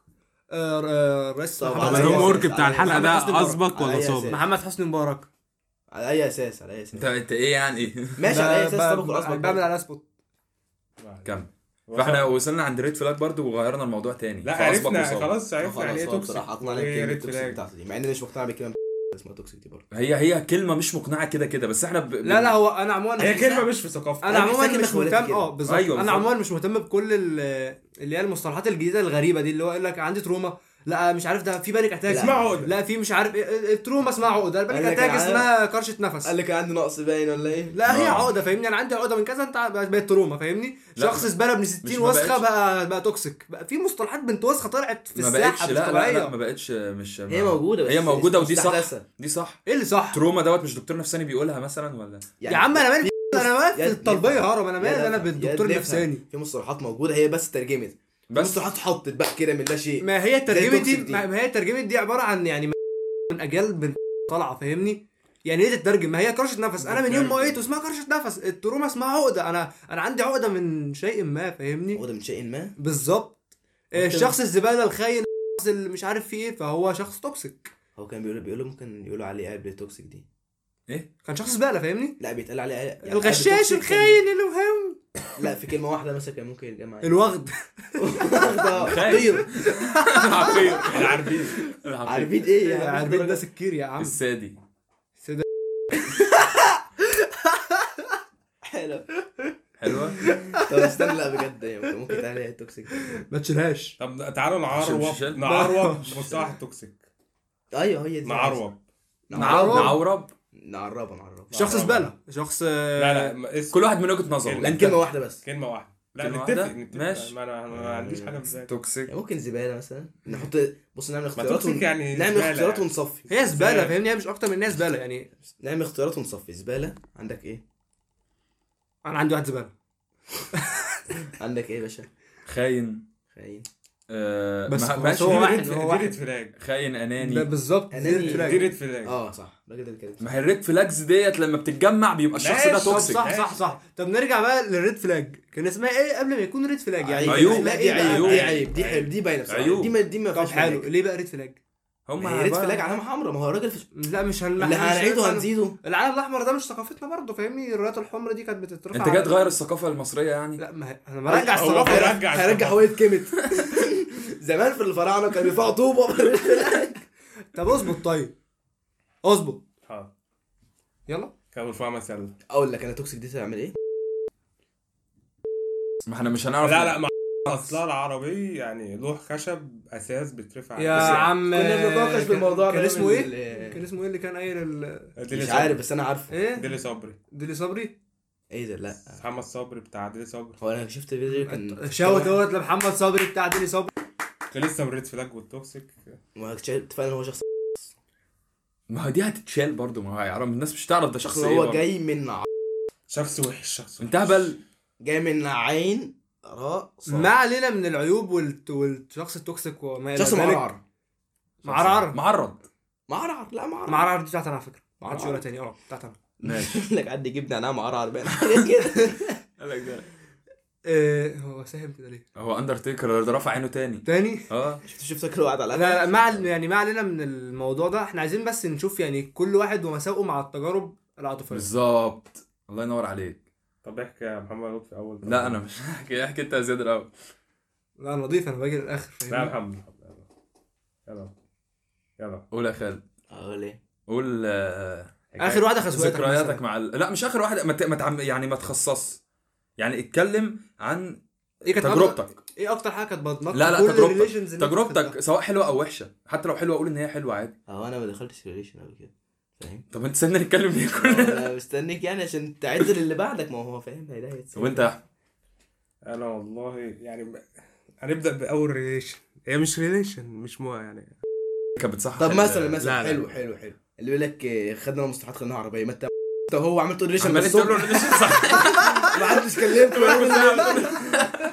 B: آه، آه، الرئيس
A: طب
B: محمد
A: على
B: حسني
A: أي
C: الهوم
B: مبارك.
C: ورك
A: أساس؟
C: بتاع
A: على
C: الحلقه
B: أي أساس
C: ده اسبق
A: على
C: ولا
A: أي أساس؟
C: سابق
B: محمد حسني مبارك
A: على اي اساس على اي اساس
D: انت انت ايه إيه يعني
A: ماشي على اي اساس السابق والاسبق
B: بعمل على سبوت
D: كم فاحنا وصلنا عند ريد فلاج برضه وغيرنا الموضوع تاني
C: لا
D: فأصبح
C: عرفنا
D: مصاب.
C: خلاص عرفنا يعني
A: خلاص
C: ايه
A: هو
C: توكسيك
A: بصراحه اقنعني
C: إيه
A: بكلمه
C: ريد
A: التوكسيك
C: فلاج.
A: بتاعتي دي مع ان انا مش مقتنع بكلمه اسمها توكسيك دي برضه
D: هي هي كلمه مش مقنعه كده كده بس احنا ب...
B: لا لا هو انا عموما
C: هي كلمه مش في ثقافتنا
B: انا
A: أنا
B: عموما
A: محتاج
B: مش
A: إنك ولادي
B: مهتم
A: كده.
B: اه بالظبط
D: أيوة
B: انا
D: بالظبط.
B: عموما مش مهتم بكل ال- اللي هي المصطلحات الجديده الغريبه دي اللي هو يقول لك عندي تروما لا مش عارف ده في بانيك اتاك
A: لا.
C: اسمها عقده
B: لا في مش عارف ايه التروما اسمها عقده البانيك
A: قال لك
B: اتاك
A: العالم-
B: اسمها كرشه نفس
A: قال لك عندي نقص باين ولا ايه؟
B: لا هي
D: آه.
B: عقده فاهمني انا عندي عقده من كذا انت بقت تروما فاهمني
D: لا،
B: شخص زباله ابن
D: مش
B: 60
D: ما
B: وسخه
D: بقتش.
B: بقى بقى توكسيك بقى في مصطلحات بنت وسخه طلعت في
D: ما
B: الساحه
D: بقتش
B: مش
D: لا, لا, لا
B: طبيعيه
D: ما بقتش مش
A: هي موجوده بس
D: هي موجوده ودي صح
A: مستحدثة.
D: دي صح
B: ايه اللي صح
D: تروما دوت مش دكتور نفساني بيقولها مثلا ولا
A: يعني
B: يا عم انا مالي انا مالي
A: يد-
B: في الطلبيه
A: يد-
B: هرم انا مالي
A: يد-
B: انا بالدكتور
A: يد-
B: النفساني
A: في مصطلحات موجوده هي بس ترجمت بس
D: بس
A: مصطلحات حطت بقى كده من لا شيء
B: ما هي الترجمه دي
A: توكسيك دي.
B: ما ما هي الترجمه دي عباره عن يعني من اجيال بنت طالعه فاهمني يعني ايه تترجم ما هي كرشه نفس انا من يوم ما قريته اسمها كرشه نفس التروما اسمها عقده انا انا عندي عقده من شيء ما فاهمني
A: موجوده من شيء ما
B: بالظبط آه،
A: ممكن-
B: الشخص الزباله الخاين الشخص اللي مش عارف فيه ايه فهو شخص توكسيك
A: هو كان بيقولوا بيقولوا ممكن يقولوا عليه قبل توكسيك دي
D: ايه
B: كان شخص زباله فاهمني
A: لا بيتقال عليه يعني قبل
B: الغشاش
A: توكسيك يعني. كان-
B: الخاين الوهم
A: لا في كلمه واحده مثلا كان ممكن يتجمع
B: الوغد
A: خطير
D: العبيد
C: العربيين
D: العبيد
A: عارفين ايه يا عم؟
B: عارفين ده سكير يا عم
D: السادي
A: حلو
D: حلوه
A: طب استنى لا بجد يعني ممكن يتقال عليه توكسيك
B: ما تشيلهاش
C: طب تعالوا
D: مش- مش-
C: نعروب نعروب مصطلح التوكسيك
A: ايوه هي دي
C: نعروب
A: نعرب
B: نعرب.
D: نعورب
A: نعربه نعربه
B: شخص زباله شخص آه،
C: لا لا ما- اسم
D: كل واحد من وجهه نظره
C: كلمة.
D: انت
A: كلمه واحده بس
C: كلمه واحده لا
D: كلمة
C: نتفق
D: واحدة؟
C: نتفق.
D: ماشي.
C: ما انا أنا ما عنديش حاجه في ذهني
D: توكسيك
A: يعني ممكن زباله مثلا نحط بص نعمل اختيارات
C: توكسيك
A: ون-
C: يعني
A: نعمل
C: زبالة
A: اختيارات
C: يعني.
A: ونصفي
B: هي زباله
C: زبالة.
B: فاهمني هي مش اكتر من الناس زباله يعني
A: نعمل اختيارات ونصفي زباله عندك ايه
B: انا عندي واحد زباله
A: عندك ايه يا باشا
D: خاين
A: خاين
D: آه،
B: بس
D: ما-
B: هو-
D: ماشي.
B: هو
C: دي
B: واحد
C: ريد-
B: هو
C: دي
B: واحد. أيوه.
C: ريد فلاج
D: خاين
B: ده
D: اناني
B: بالظبط
A: أناني.
B: زيرو فلاج.
C: دي ريد فلاج
A: اه صح الراجل ده اللي كان
D: ما هي الريد فلاجز ديت لما بتتجمع بيبقى الشخص ده
C: ماشي.
B: طب
D: توكسيك
B: صح صح صح طب نرجع بقى للريد فلاج كان اسمها ايه قبل ما يكون ريد فلاج يعني
D: عيوب.
B: كان اسمها
A: دي
B: ايه بقى؟
A: عيب دي
D: عيوب.
A: عيب إيه دي حلو دي باينه بصراحه
D: عيوب.
A: دي ما دي ما
B: طب
A: فيهاش
B: حلو
A: حلو
B: ليه بقى ريد فلاج
D: هم
A: ريد
D: بقى-
A: فلاج علامه حمراء ما هو الراجل في-
B: لا مش هن...
A: اللي
B: مش-
A: هنعيده هنزيده
B: العالم الاحمر ده مش ثقافتنا برضه فاهمني الرايات الحمراء دي كانت بتترفع
D: انت جاي
B: على-
D: تغير الثقافه المصريه يعني
B: لا ما هي- انا برجع
C: هو
B: الثقافه
C: هيرجع
A: هيرجع
C: الثقافة.
A: هيرجع هويه كيمت زمان في الفراعنه كانوا بيرفعوا طوبه
B: طب اظبط طيب اظبط
C: حاضر
B: يلا
C: كابل فاهمة سلة
A: اقول لك انا توكسيك دي تعمل ايه؟
D: ما احنا مش هنعرف
C: لا لا مع اصلها العربي يعني لوح خشب اساس بيترفع
B: يا
C: بس-
B: عم
A: يعني كنا بنتناقش
B: كان-
A: بالموضوع
B: كان
A: ده
B: اسمه
A: من
B: ايه
A: ال-
B: كان اسمه ايه اللي كان قايل ال...
C: ديلي
A: إيه؟ مش
C: صبري.
A: عارف بس انا عارفه
B: ايه
C: ديلي صبري
B: ديلي صبري
A: ايه ده لا
C: محمد صبري بتاع ديلي صبري
A: هو انا شفت فيديو كان
B: شوت اهوت لمحمد صبري بتاع ديلي صبري
C: كان لسه من ريد فلاج والتوكسيك
A: واكتشفت فعلا هو شخص
D: ما هو دي هتتشال برضه ما هو يا عم الناس مش تعرف ده شخص ايه
A: هو
D: برضه.
A: جاي من ع-
C: شخص وحش شخص وحش
D: انت هبل
A: جاي من عين راء صاد.
B: ما علينا من العيوب والت... والشخص التوكسيك وما الى
A: شخص
B: ذلك
A: معرعر
B: معرعر
D: معرض
A: معرعر لا معرعر
B: معرعر دي بتاعت انا على فكره ما حدش
A: معرعر.
B: يقولها تاني اه بتاعت انا
D: ماشي
A: لك قد جبنه انا معرعر بقى كده
D: قال لك ده
B: إيه هو ساهم كده ليه؟
D: هو اندرتيكر ده رفع عينه تاني
B: تاني
D: اه
A: شفت شفت شكله قاعد على
B: لا لا ما عل- يعني ما علينا من الموضوع ده احنا عايزين بس نشوف يعني كل واحد ومساوئه مع التجارب العاطفيه
D: بالظبط الله ينور عليك
C: طب احكي يا محمد لطفي اول
D: لا انا مش هحكي احكي انت يا زياد الاول
B: لا انا نضيف انا باجي للاخر
C: لا يا
B: فاهمني؟
C: محمد يلا يلا
D: قول يا خالد
A: اقول ايه
D: قول آه،
B: اخر واحده خسوتك
D: ذكرياتك مع ال... لا مش اخر واحده ما ت... ما تعم... يعني ما تخصص يعني اتكلم عن
B: ايه كانت أكتر-
D: تجربتك
B: ايه اكتر حاجه كانت بتنطط
D: لا، لا،
B: كل
D: تجربتك.
B: الrelations اللي انت
D: تجربتك
B: خدتها؟
D: سواء حلوه او وحشه حتى لو حلوه اقول ان هي حلوه عادي
A: هو انا ما دخلتش ريليشن قبل كده فاهم
D: طب انت سيبنا نتكلم ليه كلنا
A: انا مستنيك يعني عشان تعدل اللي بعدك ما هو فاهم هي ده هيتسال.
D: طب انت يا احمد
C: انا والله يعني ب- هنبدا باول ريليشن هي مش ريليشن مش مو يعني
D: كانت بتصحح
A: طب
D: ال-
A: مثلا مثلا
C: لا، لا.
A: حلو حلو حلو اللي يقول لك آه، خدنا مصطلحات خدناها عربيه ما انت انت هو عملت ريليشن
D: عمال
A: بس
D: انت تقول له مش صح
A: ما حدش كلمته ما حدش-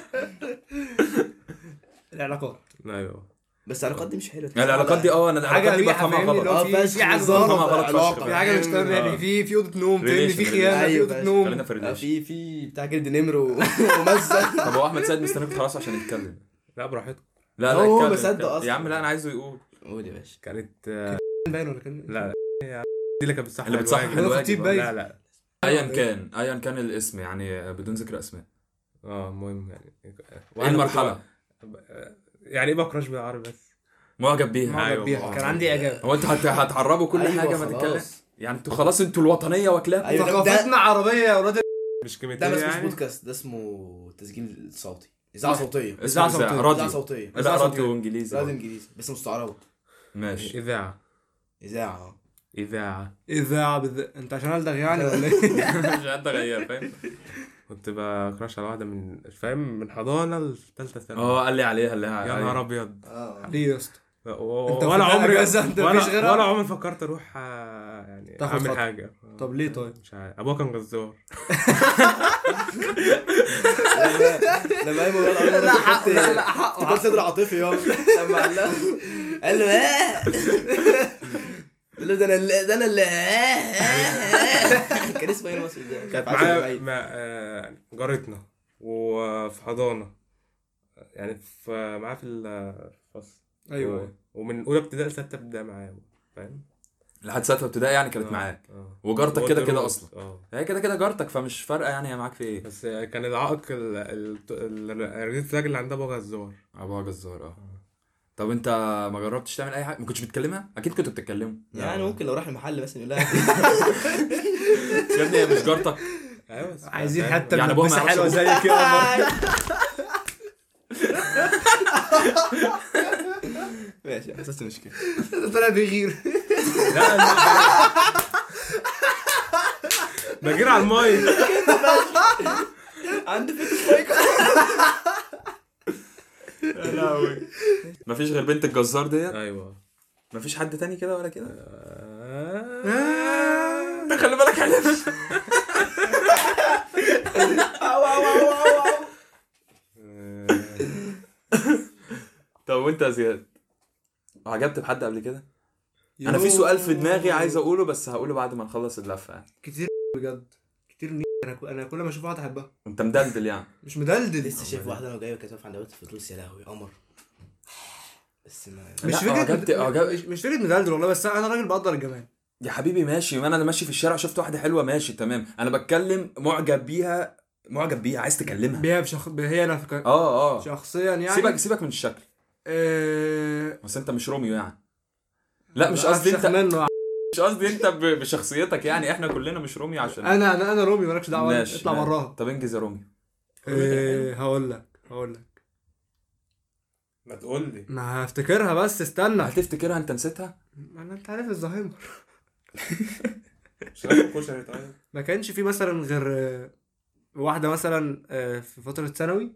B: العلاقات
C: ايوه
A: بس العلاقات دي مش حلوه
D: يعني العلاقات دي اه انا العلاقات
B: حاجه
D: دي
B: مليحه
D: بفهمها
B: فاهمني اللي
D: غلط
B: هو
A: آه،
B: في
A: فشخ
B: في حاجه
A: بالظبط.
D: بفهمها غلط
A: علاقة.
B: في
D: فشخ
B: حاجه مش تمام يعني
C: آه.
B: في في اوضه نوم فاهمني في
D: Relation-
B: خيانه في
A: أيوه،
B: اوضه
A: بس.
B: نوم
D: أيوة، خلينا في
A: آه،
D: الريليشن
A: في في بتاع جلد نمر و- ومزه
D: طب هو احمد سيد مستنيك خلاص عشان يتكلم
C: لا براحتك
D: لا لا
A: هو
D: اتكلم،
A: مصدق
D: اتكلم.
A: اصلا.
D: يا عم لا انا عايزه يقول
A: قول يا باشا
C: كانت
B: باين ولا كان
C: لا دي اللي كانت بتصحح
D: اللي بتصحح
C: الواجب.
B: الواجب.
D: الواجب
A: آه.
B: باين.
C: لا لا
D: ايا كان ايا كان الاسم يعني بدون ذكر اسماء
C: اه المهم يعني
D: ايه المرحله؟
C: يعني ايه بكراش بالعربي بس
D: معجب بيها
B: معجب
D: ايوه
B: بيها. كان عندي اجابه
D: هو انتوا هت- هتعربوا كل
A: أيوة،
D: حاجه ما
A: خلاص.
D: تتكلم يعني انتوا خلاص انتوا الوطنيه واكلاكم
A: أيوة. ده-
B: ثقافتنا عربيه يا اولاد
C: مش
A: ده ما
C: كلمتين
A: اسموش
C: يعني
A: بودكاست ده اسمه تسجيل صوتي اذاعه صوتيه
D: اسمه إذاعة،
B: إذاعة صوتية.
A: اذاعه
D: راديو
A: صوتيه
D: لا راديو انجليزي
A: راديو انجليزي بس مستعربه
D: ماشي
C: اذاعه
A: اذاعه
C: اذاعه
B: اذاعه بالذات انت عشان الدغ يعني ولا ايه؟
D: مش انت غير فاهم
C: كنت بكراش على واحده من فاهم من حضانه لثالثه ثانوي
D: اه قال لي عليها قال لي
C: يا
D: عليها
C: نهار ابيض
D: آه.
A: اه
B: ليه يا اسطى؟
C: و- و-
B: أنت
C: ولا
B: في بالك
C: عمري
B: بس أنت
C: ولا,
B: مفيش غيرها؟
C: ولا عمري فكرت اروح آه، يعني
B: تاخد
C: اعمل
B: خطوة.
C: حاجه
B: طب ليه طيب؟
C: مش عارف ابوها كان جزار
A: لما قال مولانا أبو بكر كنت-
B: حقه
A: كنت صدر عاطفي يابا لما قال له قال له اه قال له ده انا اللي- ده انا اللي آه. كان اسمه ايه المصري ده؟
C: كانت معايا مع آه، جارتنا وفي حضانه يعني في معايا في الفصل
B: ايوه
C: و- ومن اولى ابتدائي لسته ابتدائي معايا فاهم
D: لحد سته ابتدائي يعني كانت
C: آه،
D: معاك
C: آه.
D: وجارتك كده كده
C: والدروس،
D: اصلا
C: اه
D: هي كده كده جارتك فمش فارقه يعني هي معاك في ايه
C: بس كان العائق ال- ال- ال- الريد فلاج اللي عندها بقى الزور
D: ابوها جزار اه طب انت ما جربتش تعمل اي حاجه ما كنتش بتكلمها اكيد كنتوا بتتكلموا
A: يعني ممكن لو راح المحل بس يقول لها
D: يا ابني هي مش جارتك
C: ايوه بس-
B: عايزين
C: فاهم؟
B: حته
D: يعني أبوها ما
B: ملبسه
D: يعرفش
B: حلوه
D: أبوها.
B: زي كده برضه.
A: ماشي حسست مشكله
B: ده طلع بيغير
C: لا لا. بجري على المايه
A: عنده فكره
D: مفيش غير بنت الجزار ديت
C: ايوه
D: مفيش حد تاني كده ولا كده
C: آه.
D: ده خلي بالك عليها طب وانت يا زياد عجبت بحد قبل كده انا في سؤال في دماغي عايز اقوله بس هقوله بعد ما نخلص اللفه يعني
B: كتير بجد كتير ن- انا ك- انا كل ما اشوف واحده احبها
D: انت مدلدل يعني
B: مش مدلدل
A: لسه شايف واحده انا جايه كانت واقفه عند بيت الفطوس يا لهوي قمر بس ما
B: مش
D: لا،
B: فكره
D: أعجبت- أعجب-
B: مش- مش فكره مدلدل والله بس انا راجل بقدر الجمال
D: يا حبيبي ماشي ما انا اللي ماشي في الشارع شفت واحده حلوه ماشي تمام انا بتكلم معجب بيها معجب بيها عايز تكلمها
B: بيها بشخ... هي انا فك-
D: اه اه
B: شخصيا يعني
D: سيبك سيبك من الشكل
B: آه،
D: بس انت مش روميو يعني لا مش
B: أنا
D: قصدي
B: أفشخ
D: انت
B: منه
D: مش قصدي انت ب- بشخصيتك يعني احنا كلنا مش روميو عشان
B: انا انا انا رومي مالكش دعوه
D: ماشي،
B: اطلع
D: ماشي.
B: براها
D: طب انجز يا روميو
B: آه، هقول لك هقول لك
C: ما تقول لي
B: ما هفتكرها بس استنى
D: هتفتكرها انت نسيتها
B: انا انت عارف الزهايمر
C: مش عارف
D: يعني
C: كشري طيب
B: ما كانش في مثلا غير آه، واحده مثلا آه، في فتره ثانوي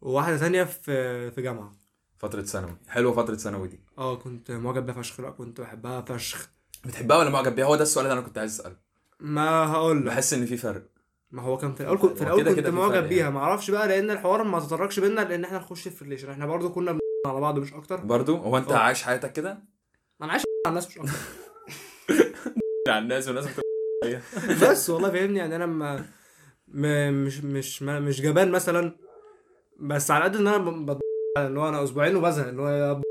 B: وواحده ثانيه في في جامعه
D: فترة ثانوي حلوة فترة ثانوي دي
B: اه كنت معجب بيها فشخ لا كنت بحبها فشخ
D: بتحبها ولا معجب بيها هو ده السؤال اللي انا كنت عايز اساله
B: ما هقول لك
D: بحس ان في فرق
B: ما هو كان في الاول كنت في
D: هو
B: الاول
D: كده
B: كنت
D: كده في
B: معجب
D: فرق
B: بيها
D: يعني.
B: ما اعرفش بقى لان الحوار ما تطرقش بينا لان احنا نخش في ريليشن احنا برضو كنا بن- على بعض مش اكتر
D: برضو هو انت
B: اه.
D: عايش حياتك كده
B: انا عايش على الناس مش اكتر
D: على الناس والناس بت...
B: بس والله فاهمني يعني انا ما ما- مش مش ما مش جبان مثلا بس على قد ان انا ب- ب- اللي هو انا اسبوعين وبزهق اللي هو يا ب-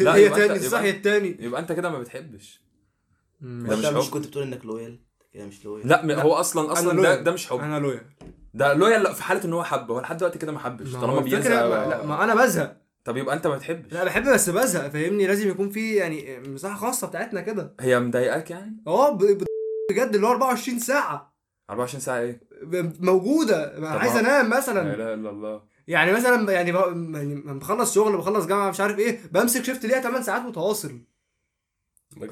D: لا،
B: هي
D: يبقى أنت-
B: تاني
D: يبقى
B: صحي التاني
D: يبقى انت كده ما بتحبش
B: مم.
D: ده مش
A: انت مش
D: حب.
A: كنت بتقول انك لويال كده مش لويال
D: لا, لا. هو اصلا اصلا ده,
B: لويال.
D: ده مش حب
B: انا لويا
D: ده لويا لا في حالة ان هو حب هو لحد دلوقتي كده ما حبش
B: ما
D: طالما
B: هو الفكرة-
D: بيزهق
B: ما- لا ما انا بزهق
D: طب يبقى انت ما بتحبش
B: لا بحب بس بزهق فاهمني لازم يكون في يعني مساحه خاصه بتاعتنا كده
D: هي مضايقاك يعني
B: اه ب- ب- بجد اللي هو 24 ساعه
D: 24 ساعة ايه
B: ب- موجوده ما عايز
D: ما-
B: انام
D: لا
B: مثلا
D: اله الا الله
B: يعني مثلا يعني ب- يعني بخلص شغل بخلص جامعه مش عارف ايه بمسك شيفت ليها 8 ساعات متواصل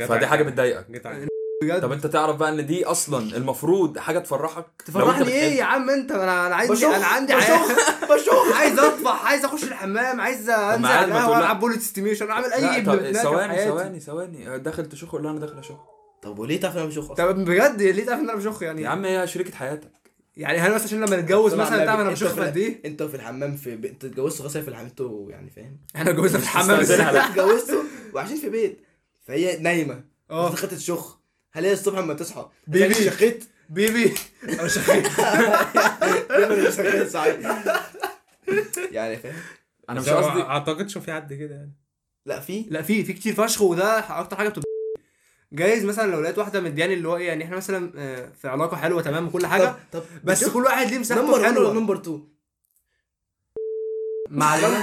D: فدي حاجة بتضايقك
C: جيت على
B: بجد
D: طب انت تعرف بقى ان دي اصلا المفروض حاجة تفرحك لو انت
B: تفرحني ايه
D: بتحب.
B: يا عم انت انا انا عايز
A: بشوف-
B: انا عندي
A: بشوف-
B: بشوف عايز اطبخ عايز اخش الحمام عايز انزل
D: عادي
B: على
D: ما تقول
B: القهوه
D: لأ.
B: العب بولت استيميشن اعمل
D: لا،
B: اي
D: طب
B: ابن
D: ثواني ثواني ثواني داخل تشوخ ولا انا داخل اشوخ
A: طب وليه تعرف إن انا مش أخ أصلاً؟
B: طب بجد ليه تعرف ان انا بشخ
D: يا
B: يعني
D: عم هي شريكة حياتك
B: يعني هل مثلا عشان لما نتجوز
A: طبعاً
B: مثلا
A: لا،
B: تعرف انا
A: إيه؟ أنت
B: بشخ
A: في-
B: في قد ايه؟
A: انت في الحمام في ب- انت اتجوزت خلاص هي في الحمام انتوا يعني فاهم
B: احنا اتجوزنا في الحمام
D: بس- لا، لا.
A: اتجوزتوا وعايشين في بيت فهي نايمه
B: اه.
A: اه دخلت تشخ هل هي الصبح لما تصحى
B: بيبي.
A: بيبي شخيت
B: بيبي انا شخيت
A: بيبي أنا شخيت ساعات يعني فاهم
D: انا مش
C: مش قصدي
D: قصدي
C: اعتقدش في حد كده يعني
A: لا في
B: لا في في كتير فشخ وده اكتر حاجه بتبقى جايز مثلا لو لقيت واحده مدياني اللي هو ايه يعني احنا مثلا آه، في علاقه حلوه تمام وكل حاجه
A: طب
B: بس كل واحد ليه مساحته
A: نمبر 1 ولا
B: حلوه
A: نمبر 2
B: ما علينا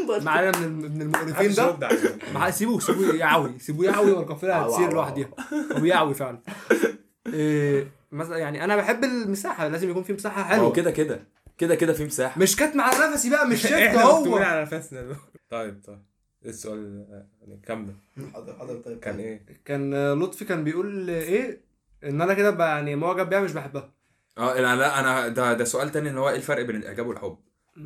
A: نمبر
B: ما علينا من من المقرفين
C: محدش
B: ده
C: يرد عليك.
B: ما علينا- سيبوه سيبوه يعوي سيبوه يعوي والقافله
A: عوا-
B: هتسير
A: عوا-
B: لوحدها هو يعوي فعلا إيه، مثلا يعني انا بحب المساحه لازم يكون في مساحه
D: هو
B: حلوه
D: كده كده كده كده في مساحه
B: مش كاتم على نفسي بقى
C: إيه،
B: مش شفت
C: احنا مكتوبين
B: هو
C: على نفسنا دول. طيب طيب السؤال آه، يعني كمل
A: 2 حاضر حاضر طيب
C: كان
D: إيه؟
C: ايه؟
B: كان آه، لطفي كان بيقول آه، ايه ان انا كده بقى يعني معجب بيها مش بحبها
D: اه لا لا انا ده ده سؤال تاني ان هو ايه الفرق بين الاعجاب والحب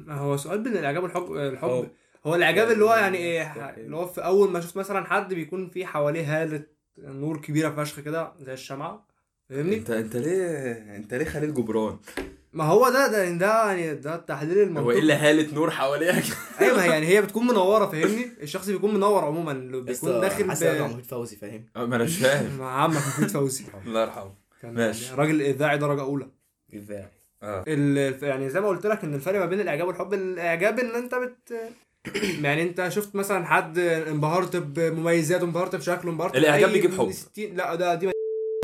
B: هو سؤال بين الاعجاب والحب الحب
C: أوه.
B: هو الاعجاب اللي هو يعني ايه ح- اللي هو في اول ما شفت مثلا حد بيكون في حواليه هاله نور كبيره فشخ كده زي الشمعه فاهمني
D: انت انت ليه انت ليه خليل جبران
B: ما هو ده ده ده يعني ده التحليل
D: هو ايه
B: المنطقي
D: اللي هاله نور حواليك
B: ايوه ما هي يعني هي بتكون منوره فاهمني الشخص بيكون منور عموما اللي بيكون داخل
A: حاسس ان
B: ب...
A: محمود فوزي فاهم
B: آه،
D: ما انا مش فاهم
B: مع عمك محمود فوزي
D: الله يرحمه
B: كان
D: ماشي.
B: يعني راجل اذاعي درجه اولى
C: اذاعي
D: اه
B: ال- يعني زي ما قلت لك ان الفرق ما بين الاعجاب والحب الاعجاب ان انت بت يعني انت شفت مثلا حد انبهرت بمميزاته انبهرت بشكله انبهرت
D: الإعجاب
B: بأي
D: بيجيب
B: من
D: حب.
B: 60 لا ده دي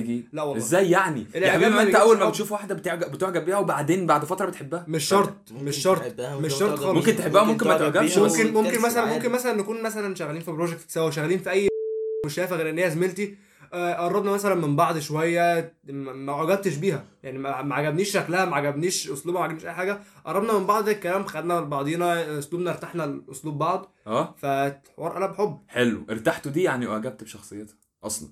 D: يجي.
B: لا والله إيه،
D: ازاي يعني
B: الإعجاب
D: يا حبيبي
B: ما
D: ما انت
B: بيجيبش
D: اول ما
B: حب.
D: بتشوف واحده بتعجب بتعجب بيها وبعدين بعد فتره بتحبها
B: مش شرط مش شرط مش شرط خالص.
D: ممكن تحبها، ممكن ما
B: يعني
D: تعجبش، بس
B: ممكن ممكن مثلا ممكن مثلا نكون مثلا شغالين في بروجكت سوا شغالين في اي مش شايفه غير ان هي زميلتي آه، قربنا مثلا من بعض شويه ما ما عجبتش بيها يعني ما ما عجبنيش شكلها ما عجبنيش اسلوبها ما عجبنيش اي حاجه قربنا من بعض الكلام خدنا لبعضينا اسلوبنا ارتحنا لاسلوب بعض
D: اه
B: فالحوار قلب حب
D: حلو ارتحتوا دي يعني اعجبت بشخصيتها اصلا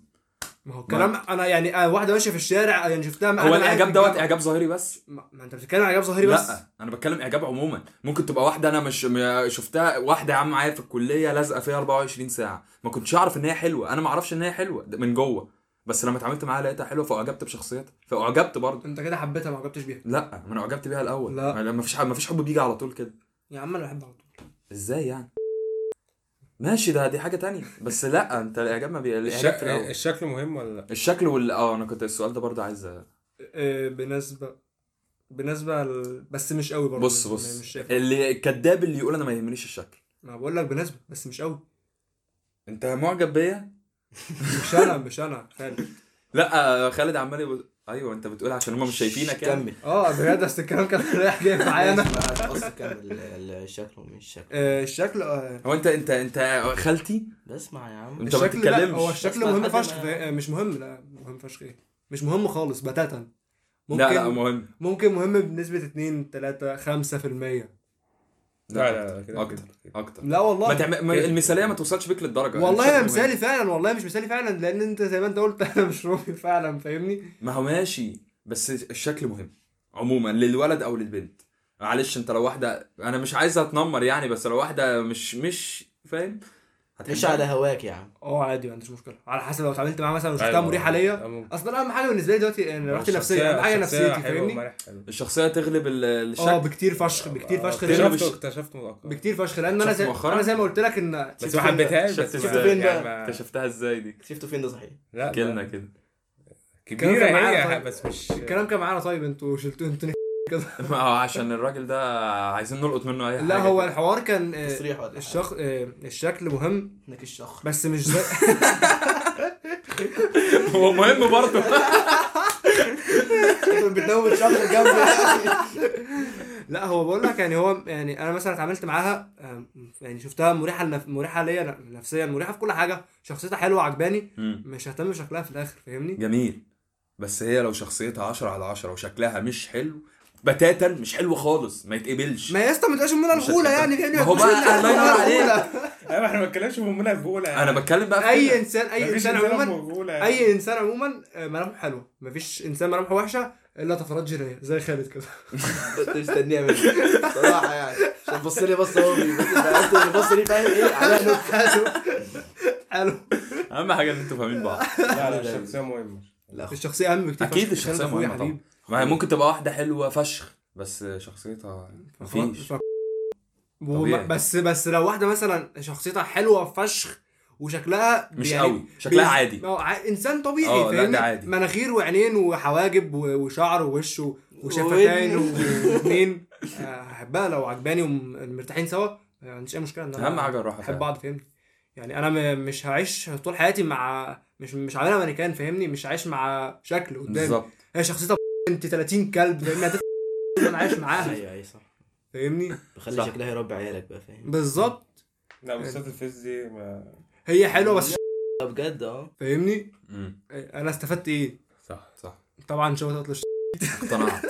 B: ما هو الكلام انا يعني آه، واحده ماشيه في الشارع آه، يعني شفتها
D: هو
B: معانا
D: الاعجاب دوت اعجاب ظاهري بس
B: ما ما انت بتتكلم عن اعجاب ظاهري بس
D: لا انا بتكلم اعجاب عموما ممكن تبقى واحده انا مش م- شفتها واحده يا عم معايا في الكليه لازقه فيها 24 ساعه ما كنتش اعرف ان هي حلوه انا ما اعرفش ان هي حلوه ده من جوه بس لما اتعاملت معاها لقيتها حلوه فاعجبت بشخصيتها فاعجبت برضه
B: انت كده حبيتها ما عجبتش بيها
D: لا ما انا اعجبت بيها الاول
B: لا.
D: ما فيش ما فيش حب بيجي على طول كده
B: يا عم انا بحبها على طول
D: ازاي يعني ماشي ده دي حاجه تانية بس لا انت الاعجاب ما بي... الاعجاب في
C: الشكل,
D: الاول
C: الشكل مهم ولا لا؟
D: الشكل وال اه انا كنت السؤال ده برضه عايز أ-
B: آه، بالنسبه بالنسبه ل... بس مش قوي برضه
D: بص
B: مش-
D: بص
B: مش شايف
D: اللي الكذاب اللي يقول انا ما يهمنيش الشكل
B: ما بقول لك بالنسبه بس مش قوي
D: انت معجب بيا
B: مش انا مش انا خالد
D: لا خالد عمال يقول ايوه انت بتقول عشان هم مش شايفينك يعني
A: كمل
B: اه بجد بس الكلام كان رايح جاي معايا انا
A: اصل كان ال- ال- الشكل ومش الشكل
B: آه، الشكل آه،
D: هو انت انت انت خالتي
A: بسمع يا عم
D: انت ما
B: الشكل لا، هو
D: بتتكلمش
B: الشكل
A: بس
B: مهم
A: حد
B: فشخ
A: ما-
B: آه، مش مهم لا مهم فشخ ايه مش مهم خالص بتاتا ممكن
D: لا لا مهم
B: ممكن مهم بنسبه 2 3 5%
C: لا لا لا كده-
D: اكتر
C: كده- كده.
D: اكتر
B: لا والله
D: ما تعمل ما- المثاليه ما توصلش بيك للدرجه
B: والله
D: الشكل
B: يا
D: مهم.
B: مثالي فعلا والله مش مثالي فعلا لان انت زي ما انت قلت انا مش روبي فعلا فاهمني
D: ما هو ماشي بس الشكل مهم عموما للولد او للبنت معلش انت لو واحده انا مش عايزها تنمر يعني بس لو واحده مش مش فاهم
A: مش على هواك يا عم
B: اه عادي ما عنديش مشكله على حسب لو اتعاملت معاها مثلا وشفتها
C: أيوة.
B: مريحه ليا
C: أم-
B: اصلا اهم حاجه بالنسبه لي دلوقتي ان راحتي نفسيه اهم حاجه
C: الشخصية
B: نفسيتي
C: حلوة
B: فاهمني
C: ومرح حلو.
D: الشخصيه تغلب ال- الشكل
B: اه بكتير فشخ بكتير فشخ
D: بكتير.
B: لأن-
D: مش-
C: اكتشفته اكتشفته مؤخرا
B: بكتير فشخ لان انا زي
D: آه، مؤخراً؟
B: انا زي ما قلت لك ان
C: بس ما حبيتهاش
D: شفت
C: بس ما-
D: ازاي؟
A: فين
C: يعني
A: بقى؟
C: ما-
D: انت شفتها ازاي دي
A: شفته فين ده صحيح
B: إيه،
C: لا ما-
D: كلنا كده
C: كبيرة
B: كان معايا
C: هي
B: طيب.
C: بس مش
B: الكلام كان معانا طيب انتوا شلتوا انتوا
D: ما هو عشان الراجل ده عايزين نلقط منه اي حاجه
B: لا هو الحوار كان آه،
A: تصريح ولا إيه؟ حاجة؟
B: الشخ آه، الشكل مهم
A: انك الشخ
B: بس مش زي
D: هو مهم برضه
A: بتنوم الشخ جنبي
B: لا هو بقول لك يعني هو يعني انا مثلا اتعاملت معاها آه، يعني شفتها مريحه لنف... مريحه ليا نفسيا مريحه في كل حاجه شخصيتها حلوه عجباني
D: مم.
B: مش ههتم بشكلها في الاخر فاهمني
D: جميل بس هي لو شخصيتها 10 على 10 وشكلها مش حلو بتاتا مش حلو خالص ما يتقبلش
B: ما هي يا اسطى ما تبقاش منى
D: مش
B: الغوله
D: هتحبها.
B: يعني فاهمني
D: ما هو بقى
B: تبقاش منى
D: الله ينور
B: الغولة.
D: عليك
C: ايوه احنا ما بنتكلمش في منى الغولة يعني.
D: انا بتكلم بقى في كده.
B: اي انسان اي
C: مفيش
B: انسان
C: إنسان
B: عموما
C: أم غولة يعني.
B: اي انسان عموما آه، ملامحه حلوه مفيش انسان ملامحه وحشه الا طفرات جينيه زي خالد كده
A: كنت مستنيها منك صراحه يعني عشان بص لي بص هو بيبص بص لي فاهم ايه عليها نكته
B: حلو حلو
D: اهم حاجه ان انتوا فاهمين بعض
C: لا لا الشخصية مهمة
A: لا
B: الشخصيه اهم بكتير
D: اكيد
B: فشخ.
D: الشخصيه
B: أخويا
D: مهمه طبعا
B: حبيبي.
D: ما هي ممكن تبقى واحده حلوه فشخ بس شخصيتها مفيش
B: ف- وما- بس بس لو واحده مثلا شخصيتها حلوه فشخ وشكلها
D: مش
B: يعني
D: قوي شكلها
B: بيز-
D: عادي
B: اه ع- انسان طبيعي
D: اه، لا، ده
B: فاهمني؟
D: عادي.
B: مناخير وعينين وحواجب و- وشعر ووش و- وشفتين
A: ودني.
B: واثنين هحبها لو عجباني ومرتاحين سوا ما عنديش اي مشكله ان أنا
D: اهم حاجه الراحه
B: احب
D: فعلا
B: بعض فاهمني يعني انا م- مش هعيش طول حياتي مع مش مش عاملها مانيكان فاهمني مش عايش مع شكل قدامي
D: بالظبط
B: هي شخصيتها انت 30 كلب فاهمني هتف- انا عايش معاها
A: ايوه ايوه صح
B: فاهمني
A: بخلي
D: صح.
A: شكلها يربي عيالك بقى فاهم
B: بالظبط
C: لا بوستات الفيس دي ما
B: هي حلوه بس
A: ده بجد اه
B: فاهمني
D: مم.
B: انا استفدت ايه
C: صح
D: صح
B: طبعا شوت اوت للش-
D: اقتنعت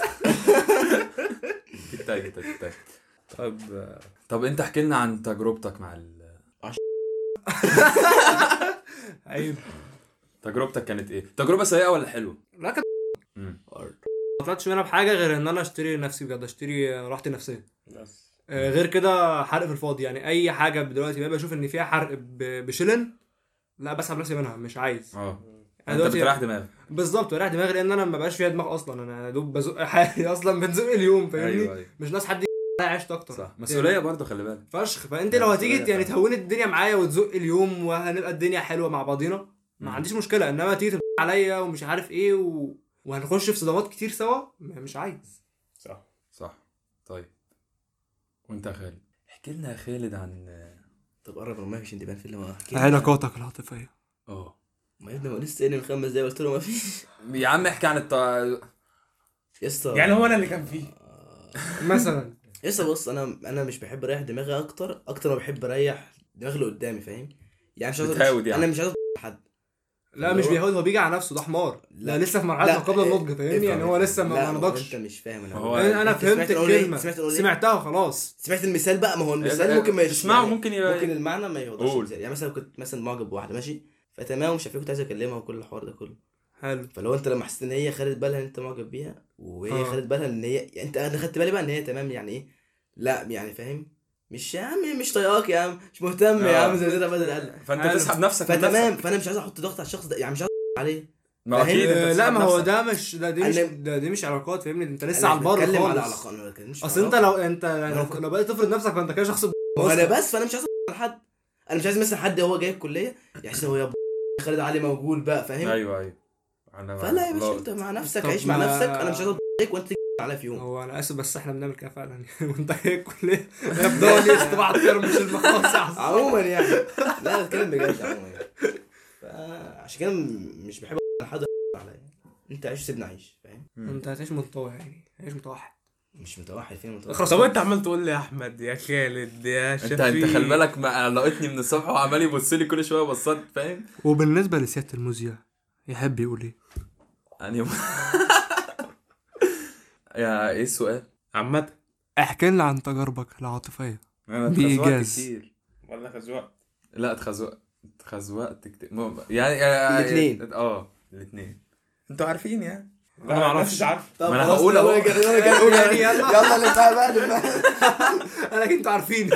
D: تك تك تك تك
C: طب آه،
D: طب انت احكي لنا عن تجربتك مع ال...
B: عيب
D: تجربتك كانت ايه؟ تجربه سيئه ولا حلوه؟
B: لا كانت
D: مم.
B: ما طلعتش منها بحاجه غير ان انا اشتري نفسي بجد اشتري راحتي النفسيه
C: بس
B: آه، غير كده حرق في الفاضي يعني اي حاجه دلوقتي بقى بشوف ان فيها حرق ب- بشلن لا بسحب نفسي منها مش عايز
D: اه
B: انا
D: انت بتريح دماغك
B: بالظبط بريح دماغي لان انا ما بقاش فيها دماغ اصلا انا يا دوب بزق حالي اصلا بنزق اليوم فاهمني
D: ايوه ايوه
B: مش ناس حد ي- عشت اكتر
D: صح مسؤوليه برضه خلي بالك
B: يعني فشخ فانت لو هتيجي يعني تهون الدنيا معايا وتزق اليوم وهنبقى الدنيا حلوه مع بعضينا ما
D: مم.
B: عنديش مشكله انما تيجي تبقى عليا ومش عارف ايه و... وهنخش في صدامات كتير سوا م- مش عايز
C: صح
D: صح طيب وانت يا خالد احكي لنا يا خالد عن
A: طب قرب من المايك عشان تبان في اللي ما احكي
B: يعني علاقاتك العاطفيه
D: اه
A: آه، ما يا ابني ما لسه قايل من خمس دقايق قلت له ما فيش
D: يا عم احكي عن الط...
A: يا اسطى
C: يعني هو انا اللي كان فيه
B: مثلا
A: يا اسطى بص انا انا مش بحب اريح دماغي اكتر اكتر ما بحب اريح دماغي اللي قدامي فاهم يعني مش عايز
D: بتهاود يعني.
A: انا مش عايز حد
B: لا مش بيهود هو بيجي على نفسه ده حمار لا,
A: لا.
B: لسه في مرحله
A: لا، إيه،
B: ما قبل النضج فاهمني يعني هو لسه
A: لا،
B: ما ما
A: هو
B: نضجش
A: انت مش فاهم انا
D: ما هو-
A: هو
B: انا أنا
A: أنت
B: فهمت
A: سمعت الأول إيه؟
B: الكلمه
A: سمعت الأول إيه؟
B: سمعتها خلاص
A: سمعت المثال بقى ما هو المثال ممكن ما
D: اسمعه
A: يعني
D: ممكن ي-
A: ممكن المعنى ما يوضحش
D: قول.
A: المثال. يعني مثلا كنت مثلا معجب بواحده ماشي فتمام مش عارف إيه، كنت عايز اكلمها وكل الحوار ده كله
B: حلو
A: فلو انت لما حسيت ان هي خدت بالها ان انت معجب بيها وهي
B: آه.
A: خدت بالها ان هي يعني انت انا خدت بالي بقى ان هي تمام يعني ايه لا يعني فاهم مش يا عم مش طايقاك يا عم مش مهتم يا
D: آه.
A: عم زي زي بدل قلب
D: فانت
B: حلو.
D: تسحب نفسك من
A: فتمام
D: نفسك.
A: فانا مش عايز احط ضغط على الشخص ده يعني مش عايز عليه
D: ما اكيد
A: فهي-
D: انت
B: آه، لا
D: تسحب
B: ما هو
D: نفسك.
B: ده مش ده دي مش
A: إيه، أنا-
B: ده دي مش علاقات فاهمني انت لسه
A: أنا
B: على
A: مش
B: البر
A: بتكلم على
B: خالص
A: علاقه انا ما بتكلمش
B: اصل انت لو انت لو,
D: يعني
A: علاقة.
B: لو بدات تفرض نفسك فانت كده شخص ب-
A: انا
B: أصلاً.
A: بس فانا مش عايز على حد انا مش عايز مثلا حد هو جاي الكليه يحس ان هو يا ب- خالد علي موجود بقى فاهم
D: ايوه ايوه انا
A: فلا يا
D: لا.
A: باشا انت مع نفسك
B: أيوة. طب
A: عيش مع
B: ما-
A: نفسك انا مش عايز عليك وانت تيجي عليا في يوم
B: هو انا اسف بس احنا بنعمل كده فعلا وانت جاي الكليه يا بدور ليه طبعا مش المقاصع
A: عموما يعني لا بتكلم بجد عموما يعني فعشان كده م- مش بحب حد عليا انت عيش سيبني عيش فاهم
B: انت هتعيش منطوي يعني هتعيش متوحد
A: مش متوحد فين متوحد
C: خلاص طب انت عمال تقول لي يا احمد يا خالد يا شفيق
D: انت انت خلي بالك ما لقيتني من الصبح وعمال يبص لي كل شويه بصات فاهم
B: وبالنسبه لسياده المذيع يحب يقول ايه
D: يعني يا ايه السؤال؟
C: عامة
B: احكي لنا عن تجاربك العاطفيه
D: أنا
B: بإيجاز.
D: اتخزوقت كتير
C: ولا خزوقت
D: لا اتخزوقت اتخزوقت كتير مو- يعني يعني-
A: الاتنين.
D: اه الاثنين انتوا عارفين يعني
C: انا ما اعرفش عارف
A: طب
D: ما أنا
A: خلاص،
D: هقول
A: لو
D: أهو.
A: انا جاي- لو انا جاي اقول يعني يلا اللي بقى بقى اللي بقى.
B: انا كنت عارفين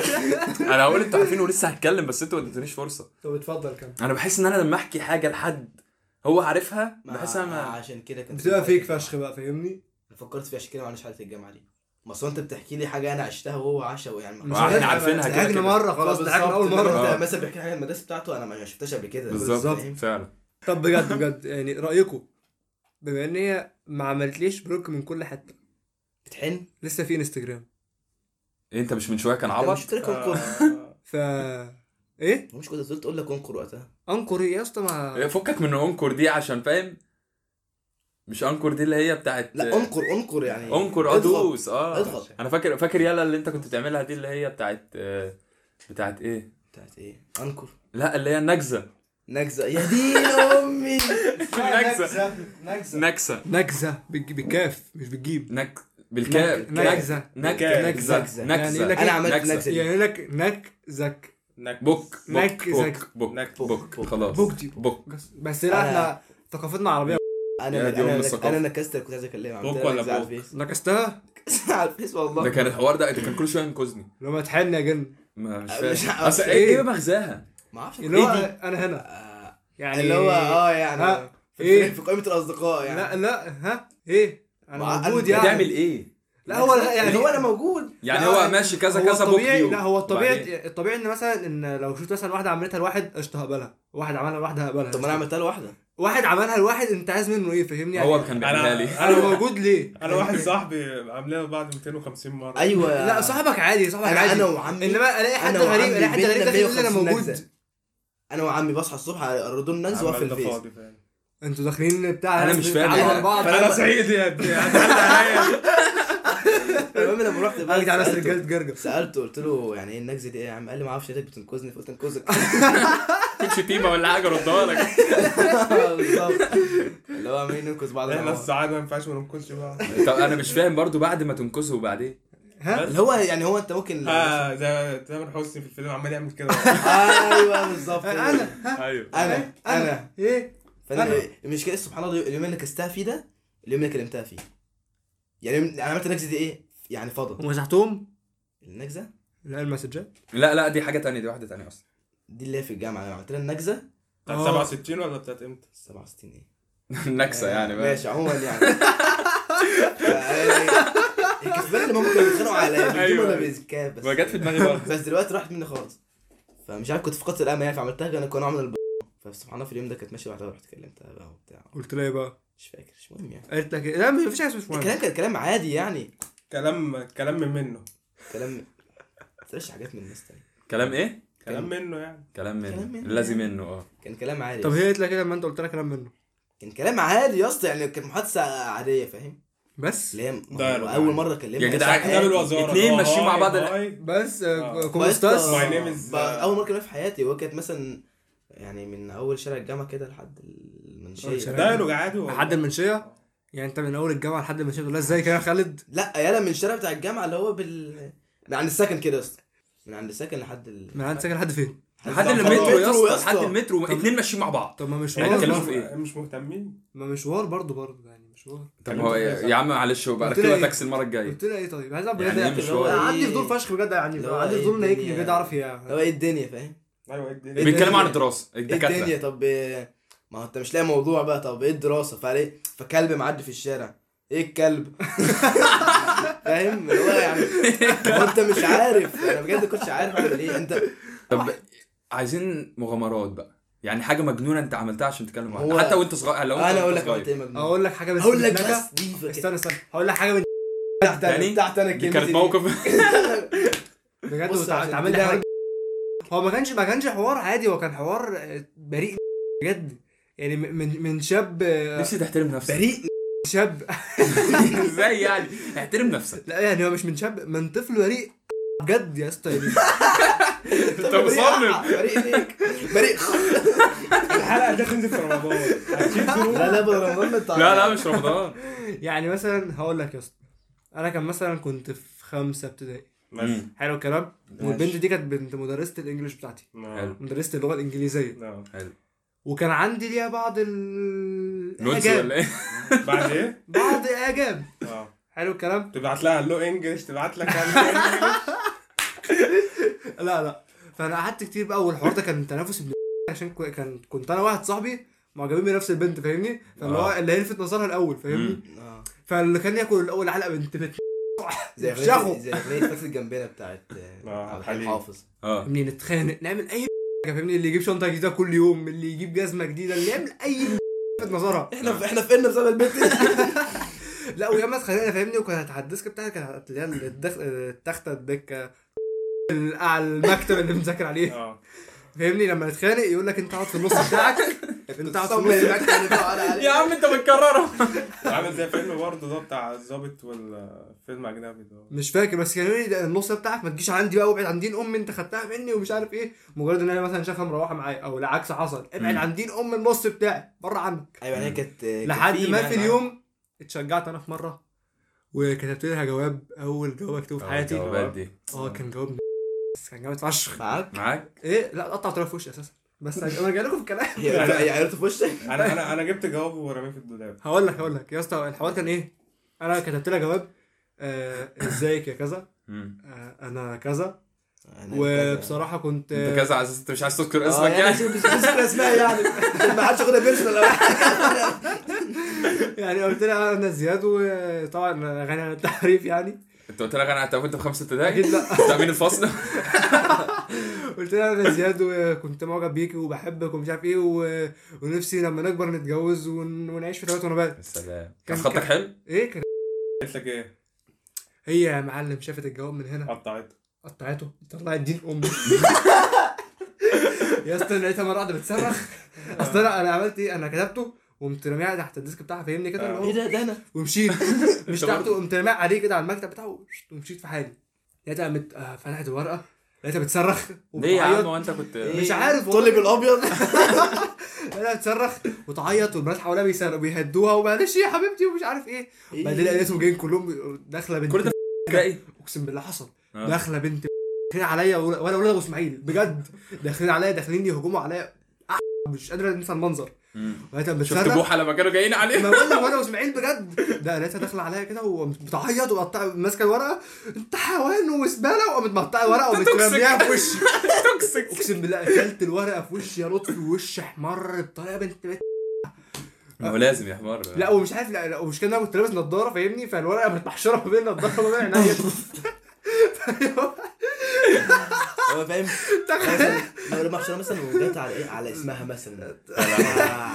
D: انا هقول انتوا عارفين ولسه هتكلم بس انتوا ما اديتونيش فرصه
B: طب اتفضل كمل
D: انا بحس ان انا لما احكي حاجه لحد هو عارفها بحس انا ما-
A: عشان كده كنت
B: بتبقى فيك فشخ بقى فاهمني
A: فكرت فيها عشان كده ما عملناش حاله الجامعه دي ما اصل انت بتحكي لي حاجه انا عشتها وهو عاشها يعني
B: مش
D: احنا
B: هنضحك.
D: عارفينها كده
B: ضحكنا
D: كده.
B: مره خلاص ضحكنا اول مره
D: آه.
A: انت مثلا بيحكي لي حاجه عن المدرسه بتاعته انا ما شفتهاش قبل كده إيه؟
D: بالظبط
A: فاهم؟
D: فعلا
B: طب بجد بجد يعني رايكم بما ان هي ما عملتليش بلوك من كل حته
A: بتحن
B: لسه في انستجرام
D: إيه انت مش من شويه كان
A: عبط
D: عبط آه.
A: مش قلت لك انكر
B: ف ايه
A: مش كنت فضلت اقول لك انكر وقتها
B: انكر ايه يا اسطى ما
D: فكك من انكر دي عشان فاهم مش انكر دي اللي هي بتاعت
A: لا انكر انكر يعني
D: انكر
A: اضغط.
D: ادوس اه
A: اضغط
D: انا فاكر فاكر يلا اللي انت كنت بتعملها دي اللي هي بتاعت آه، بتاعت ايه
A: بتاعت ايه انكر
D: لا اللي هي النكزه
A: نكزه يا دين امي
D: نكزه
B: نكزه
D: نكزه
B: نكزه بالج- بالكاف مش بالجيب
D: نك بالكاف
B: نكزه
D: نك
C: نكزة.
D: نكزه
A: نكزة.
B: يعني لك-
D: نكزه
A: انا عملت
D: نكزة.
A: نكزه دي.
B: يعني لك نكزك
D: بوك بوك
B: نكزة.
D: بوك بوك
C: نك-
D: بوك
A: بوك.
D: خلاص
B: بوك دي.
D: بوك
B: بس بس لا احنا ثقافتنا عربيه
A: انا
D: يا دي أم
A: انا
D: الثقافة.
A: انا نكست اللي كنت عايز اكلمها عملت
C: بوك
A: لها
C: ولا
A: نكزة على
C: بوك؟
A: الفيس
B: نكستها
A: على الفيس
D: ده
A: والله
D: كان الحوار ده ده كان كل شويه ينقذني
B: لما تحن يا جن
D: ما مش
A: مش
D: فاهم
A: عارف.
D: اصل
B: إيه؟
D: ايه ايه مغزاها
A: ما اعرفش
B: اللي هو
A: إيه دي؟
B: انا هنا
A: آه،
B: يعني
A: اللي هو اه يعني
B: ها؟
A: في-
B: إيه؟
A: في قائمه الاصدقاء يعني
B: لا لا ها ايه انا
A: مع-
B: موجود
A: أنت
B: يعني
D: بتعمل ايه
B: لا هو لا
A: يعني
B: يعني
A: هو انا موجود
D: يعني
B: لا،
D: هو ماشي كذا
B: هو
D: كذا بوك
B: الطبيعي
D: ديو.
B: لا هو
D: وبعدين-
B: الطبيعي الطبيعي ان مثلا ان لو شفت مثلا واحده عملتها لواحد قشطه هقبلها واحد عملها لواحده هقبلها
A: طب ما انا عملتها لواحده
B: واحد عملها لواحد انت عايز منه ايه فاهمني يعني
D: هو كان بيعملها لي
B: انا موجود ليه
C: انا واحد صاحبي عاملينها بعد 250 مره
A: ايوه
B: أيوة. لا صاحبك عادي صاحبك
A: انا
B: عادي
A: انا وعمي
B: انما الاقي حد
A: أنا
B: غريب
A: وعمي
B: الاقي حد
A: بيتنا
B: غريب داخل يقول لي انا
A: 150
B: موجود
A: نكزة. انا وعمي بصحى الصبح ارد النجز واقف في
C: عمال ده
A: الفيس
C: فاضي فاهم
B: انتوا داخلين بتاع
D: أنا مش فاهم.
B: تعالوا
D: أنا-
B: على بعض
C: فانا صعيدي يا ابني هتعلق عليا
A: المهم لما رحت بقى
B: ارجع على
A: سألته-
B: رجاله جرجر
A: سالته قلت له يعني ايه النجزه دي ايه يا عم قال لي ما اعرفش لقيتك بتنقذني فقلت انقذك
D: في شتيمه ولا حاجه ردها لك
A: بالظبط اللي هو عمالين ننقذ بعض
C: احنا
A: مع بعض.
C: السعاده ما ينفعش ما ننكلش بعض
D: طب انا مش فاهم برضو بعد ما تنكسه وبعدين
A: اللي هو يعني هو انت ممكن
C: اه زي تامر حسني في الفيلم عمال يعمل كده
A: ايوه بالظبط
B: انا ها
D: ايوه
A: انا انا
B: ايه
A: فانا
B: أنا.
A: المشكله إيه؟ سبحان الله اليوم اللي كستها فيه ده اليوم اللي كلمتها فيه يعني انا عملت النجزه دي ايه يعني فضل
B: ومسحتهم
A: النجزه
B: لا المسجات
D: لا لا دي حاجه تانية دي واحده تانية اصلا
A: دي اللي هي في الجامعه انا عملت لها النجزه
C: بتاعت
B: آه.
C: 67 ولا بتاعت امتى؟
A: 67 ايه
D: النكسه يعني بقى
A: ماشي عموما يعني فا- الكسبان اللي هم كانوا بيتخانقوا على بيجيبوا
D: أيوة.
A: ولا بيزكاه
D: ما
A: بس
D: جت في دماغي برضه
A: بس دلوقتي راحت مني خالص فمش عارف كنت فقدت الامل يعني فعملتها انا كنت عامل الب... فسبحان الله في اليوم ده كانت ماشيه لوحدها ورحت كلمتها بقى وبتاع
B: قلت لها ايه بقى
A: مش فاكر مش مهم يعني
B: قالت لك إيه؟ لا مفيش حاجه اسمها مش مهم
A: الكلام كان كلام عادي يعني
C: كلام كلام من منه
A: كلام ما تقولش حاجات من الناس تاني
D: كلام ايه
C: كلام منه يعني
D: كلام
A: كلام
D: منه
A: منه.
D: لازم منه اه
A: كان كلام عادي
B: طب هي قالت لك ايه لما انت قلت لها كلام منه
A: كان كلام عادي يا اسطى يعني كانت محادثه عاديه فاهم
B: بس
A: اللي هي
C: ده
A: هو اول مره كلمها
D: يا جدعان،
A: صح؟
C: ده بالوزاره
D: اتنين
C: آه،
D: ماشيين مع
C: هاي،
D: بعض.
C: هاي.
B: بس
C: آه.
B: كومستاس
C: My name is- آه.
A: بقى اول مره كلمها في حياتي وهي كانت مثلا يعني من اول شارع الجامعه كده لحد
B: أول شارع.
A: المنشيه
C: ده له عادي والله.
B: لحد المنشيه يعني انت من اول الجامعه لحد المنشيه بتقول لها ازاي كده يا خالد
A: لا يالا من الشارع بتاع الجامعه اللي هو بال من عند السكن كده يا اسطى من عند السكن لحد ال...
B: من عند ساكن لحد فين
D: لحد
A: طب
D: المترو يا
A: المترو
D: اسطى لحد المترو اتنين ماشيين مع بعض
B: طب ما
C: يعني
D: إحنا
B: مشوار
C: انتوا
D: بنتكلم
B: برضه.
D: في
C: مش-
D: إيه؟
C: مش مهتمين
B: ما مشوار برضه برضه يعني مشوار
D: طب هو إيه؟
C: كلمت
D: يا عم معلش بقى
B: قلت لها
D: ركبها
B: إيه؟
D: تاكسي المره الجايه
B: قلت لها ايه طيب عايز اعرف
D: يعني
B: بجد
D: إيه
B: يعني
D: مشوار؟
B: أنا عندي فضول فشخ بجد يعني
A: اللي هو
B: عندي
A: إيه
B: فضول نايكني
A: الدنيا؟
B: بجد اعرف
A: هو
B: هي
A: ايه الدنيا فاهم
C: ايوه الدنيا
D: بيتكلموا عن
A: الدنيا؟
D: الدراسه
A: ايه الدنيا
D: الدكاتره
A: طب إيه- ما هو انت مش لاقي موضوع بقى طب ايه الدراسه فعليه فكلب معدي في الشارع ايه الكلب فاهم اللي هو يعني هو انت مش عارف انا بجد كنتش عارف اعمل ايه انت
D: طب عايزين مغامرات بقى يعني حاجه مجنونه انت عملتها عشان تتكلم مع
A: هو-
D: حد. حتى وانت صغير لو انت
A: انا
D: وأنت
A: اقول لك
D: صغير.
A: عملت ايه مجنون
B: اقول لك حاجه بس
A: اقول لك
B: متلكة.
A: بس دي فاكر-
B: استنى استنى هقول لك حاجه من
A: بتاعت
D: تاني؟
A: انا بتاعت انا
D: دي
A: الكلمة
D: كانت
A: دي.
D: موقف
B: بجد
A: بص عشان
B: اتعمل لي
A: كده-
B: حوار هو ما كانش ما كانش حوار عادي هو كان حوار آه، بريء بجد يعني من- من من شاب آه،
D: نفسي تحترم نفسك
A: بريء
B: شاب
D: ازاي يعني احترم نفسك
B: لا يعني هو مش من شاب من طفل بريء بجد يا اسطى يعني
D: انت
A: بريء-
D: مصمم
A: بريء ليك بريء
C: الحلقه دي هتنزل في رمضان هتشيل ظروف.
A: لا لا برمضان بتاع
D: لا لا مش رمضان
B: يعني مثلا هقول لك يا اسطى انا كان مثلا كنت في خمسه ابتدائي
C: بس.
B: حلو الكلام والبنت دي كانت بنت مدرسه الانجليش بتاعتي
C: نعم.
B: مدرسه اللغه الانجليزيه
C: نعم.
B: وكان عندي ليها بعض
D: نونس
B: الاعجاب
D: ولا ايه
C: بعد ايه؟
B: بعض الاعجاب
C: اه
B: حلو الكلام
C: تبعت لها هلو انجلش تبعت لك يعني هلو
B: لا لا فانا قعدت كتير بقى والحوار ده كان تنافس ابن عشان كو- كان كنت انا واحد صاحبي معجبين بنفس البنت فاهمني فاللي هو
D: آه.
B: اللي هيلفت نظرها الاول فاهمني
D: مم.
A: آه.
B: فاللي كان ياكل الاول علقه بنت بنت
A: زي
B: شخو.
A: اغنيه زي اغنيه فاتت جنبنا بتاعت
C: آه،
A: عبد
C: حليم.
A: الحليم حافظ
D: اه
B: فاهمني نتخانق نعمل اي حاجه فاهمني اللي يجيب شنطه جديده كل يوم اللي يجيب جزمه جديده اللي يعمل اي لفت نظرها
A: احنا احنا فقنا بسبب البنت دي.
B: لا وياما اتخانقنا فاهمني وكانت على الديسك بتاعها كانت اللي هي الدخ- التخته الدكه ال- على المكتب اللي بنذاكر عليه
C: اه
A: آه.
B: فاهمني لما نتخانق يقول لك انت اقعد في النص بتاعك انت اقعد في
A: صمم
B: النص
A: المكتب اللي بتاع على
D: يا
A: عليه.
D: عم انت بتكررها
C: عامل زي فيلم برضه ده بتاع الظابط والفيلم اجنبي ده
B: مش فاكر بس كانوا يقولوا لي ده النص بتاعك ما تجيش عندي بقى وابعد عن دين امي انت خدتها مني ومش عارف ايه مجرد ان انا مثلا شافها مروحه معايا او العكس حصل ابعد
D: مم.
B: عن دين ام النص بتاعي بره عنك
A: ايوه يعني هي كانت كانت يعني.
B: لحد ما
A: معنى.
B: في اليوم اتشجعت انا في مره وكتبت لها جواب اول جواب اكتبه في حياتي
D: الجوابات طيب، دي
B: اه كان جواب م- بس كان جامد فشخ
A: معاك
D: معاك
B: ايه لا قطع طرف وشي اساسا بس انا جاي لكم في الكلام
A: هي عرفت- هي عرفت في وشك
C: انا انا انا جبت جوابه ورميه في الدولاب
B: هقول لك هقول لك يا اسطى الحوار كان ايه انا كتبت لها جواب آه، ازيك يا كذا
D: مم.
B: آه، انا كذا
A: أنا كذا.
B: وبصراحه كنت
D: انت كذا على اساس انت مش عايز تذكر
A: آه،
D: اسمك يعني
A: شوف- شوف اسمها يعني ما حدش ياخدها بيرسونال أو حاجة.
B: يعني قلت لها انا زياد وطبعا غني عن التعريف يعني
D: انت قلت لك انا هتقابل انت في خمسه ابتدائي
B: اكيد لا
D: انت مين الفصل
B: قلت لها انا زياد وكنت معجب بيكي وبحبك ومش عارف ايه و... ونفسي لما نكبر نتجوز ون... ونعيش في ثلاث ونبات
D: السلام كان
B: كان-
D: خطك
B: كان-
D: حلو
B: ايه كان
C: قلت لك ايه؟
B: هي يا معلم شافت الجواب من هنا
C: قطعته
B: قطعته طلعت دين امي يا اسطى أنا لقيتها مره واحده بتصرخ اصل انا انا عملت ايه انا كتبته وقمت راميها تحت الديسك بتاعها فاهمني كده اللي هو
A: ايه ده ده انا
B: ومشيت مش تعبت قمت راميها عليه كده على المكتب بتاعه ومشيت في حالي لقيتها قامت آه، فتحت الورقه لقيتها بتصرخ
D: ليه يا عم
B: وبتعيط.
D: هو انت كنت
A: إيه؟
B: مش عارف والله.
A: طلب الابيض
B: بدأت تصرخ وتعيط والبنات حواليها بيصرخوا بيهدوها ومعلش يا حبيبتي ومش عارف ايه بعدين
A: إيه؟
B: لقيتهم جايين كلهم داخله بنت
D: إيه؟ كل ده ابتدائي
B: اقسم بالله حصل
D: آه.
B: داخله بنت داخلين عليا ولا ولا ولاد ابو اسماعيل بجد داخلين عليا داخلين يهجموا عليا أح- مش قادر انسى المنظر لقيتها
D: شفت
B: بتصرخ
D: بوحه لما كانوا جايين
B: ما
D: عليه
B: بقول لك وانا اسماعيل بجد ده لقيتها داخله عليا كده وبتعيط وقطع ماسكه الورقه انت حيوان وزباله وقامت مقطعه الورقه وقامت راميها في وشي
D: توكسيك
B: اقسم بالله اكلت الورقه في وشي يا لطفي ووشي احمر بطريقه بنت
D: ما هو لازم يا حمار
B: لا ومش عارف لا, لا ومش كده انا كنت لابس نضاره فاهمني فالورقه كانت محشوره ما بين النضاره وما بين عينيا
A: هو فاهم
B: تخيل.
A: لو لما احشرها مثلا وجت على ايه على اسمها مثلا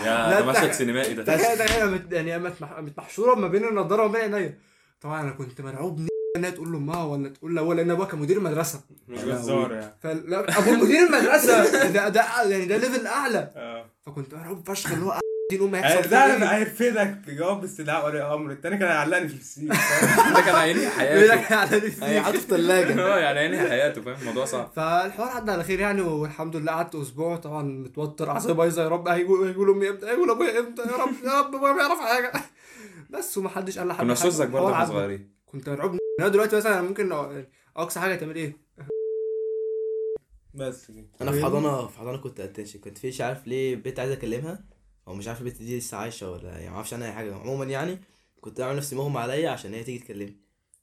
D: يا ده
B: لا،
D: مشهد
B: تخيل.
D: سينمائي ده
B: تخيل تخيل مت- يعني مت- مت- محشوره ما بين النضاره وما بين عينيا طبعا انا كنت مرعوب ن- انها تقول لامها ولا تقول لابوها لان ابوها كان مدير مدرسه
C: مش جزار يعني
B: فلا ابو مدير المدرسه ده ده يعني ده ليفل اعلى
C: اه
B: فكنت مرعوب فشخ اللي هو دين امي هيحصل فيها
C: لا
B: إيه؟
C: انا هيرفدك تجاوب باستدعاء ولي امر التاني كان هيعلقني في السين
D: ده كان عيني
B: بيقول لك
D: حياته
B: يعني
D: إيه،
B: في-
A: هيقعدوا آه، في ثلاجه
D: اه يعني عيني حياته فاهم الموضوع صعب
B: فالحوار عدى على خير يعني والحمد لله قعدت اسبوع طبعا متوتر اعصابي بايظه يا رب هيجوا هيجوا امي امتى هيجوا ابويا امتى يا رب يا رب ابويا ما يعرف حاجه بس ومحدش قال لحد
D: كنا
B: حاجة.
D: سوزك برضه
B: الحوار
D: واحنا
B: عدى.
D: صغيرين
B: كنت مرعوب انا دلوقتي مثلا ممكن أ- اقصى حاجه تعمل ايه؟
C: بس كده
A: انا في حضانه في حضانه كنت اتنشن كنت في مش عارف ليه بنت عايز اكلمها او مش عارف البنت دي لسه عايشه ولا يعني ما اعرفش عنها اي حاجه عموما يعني كنت عامل نفسي مغمى عليا عشان هي تيجي تكلمني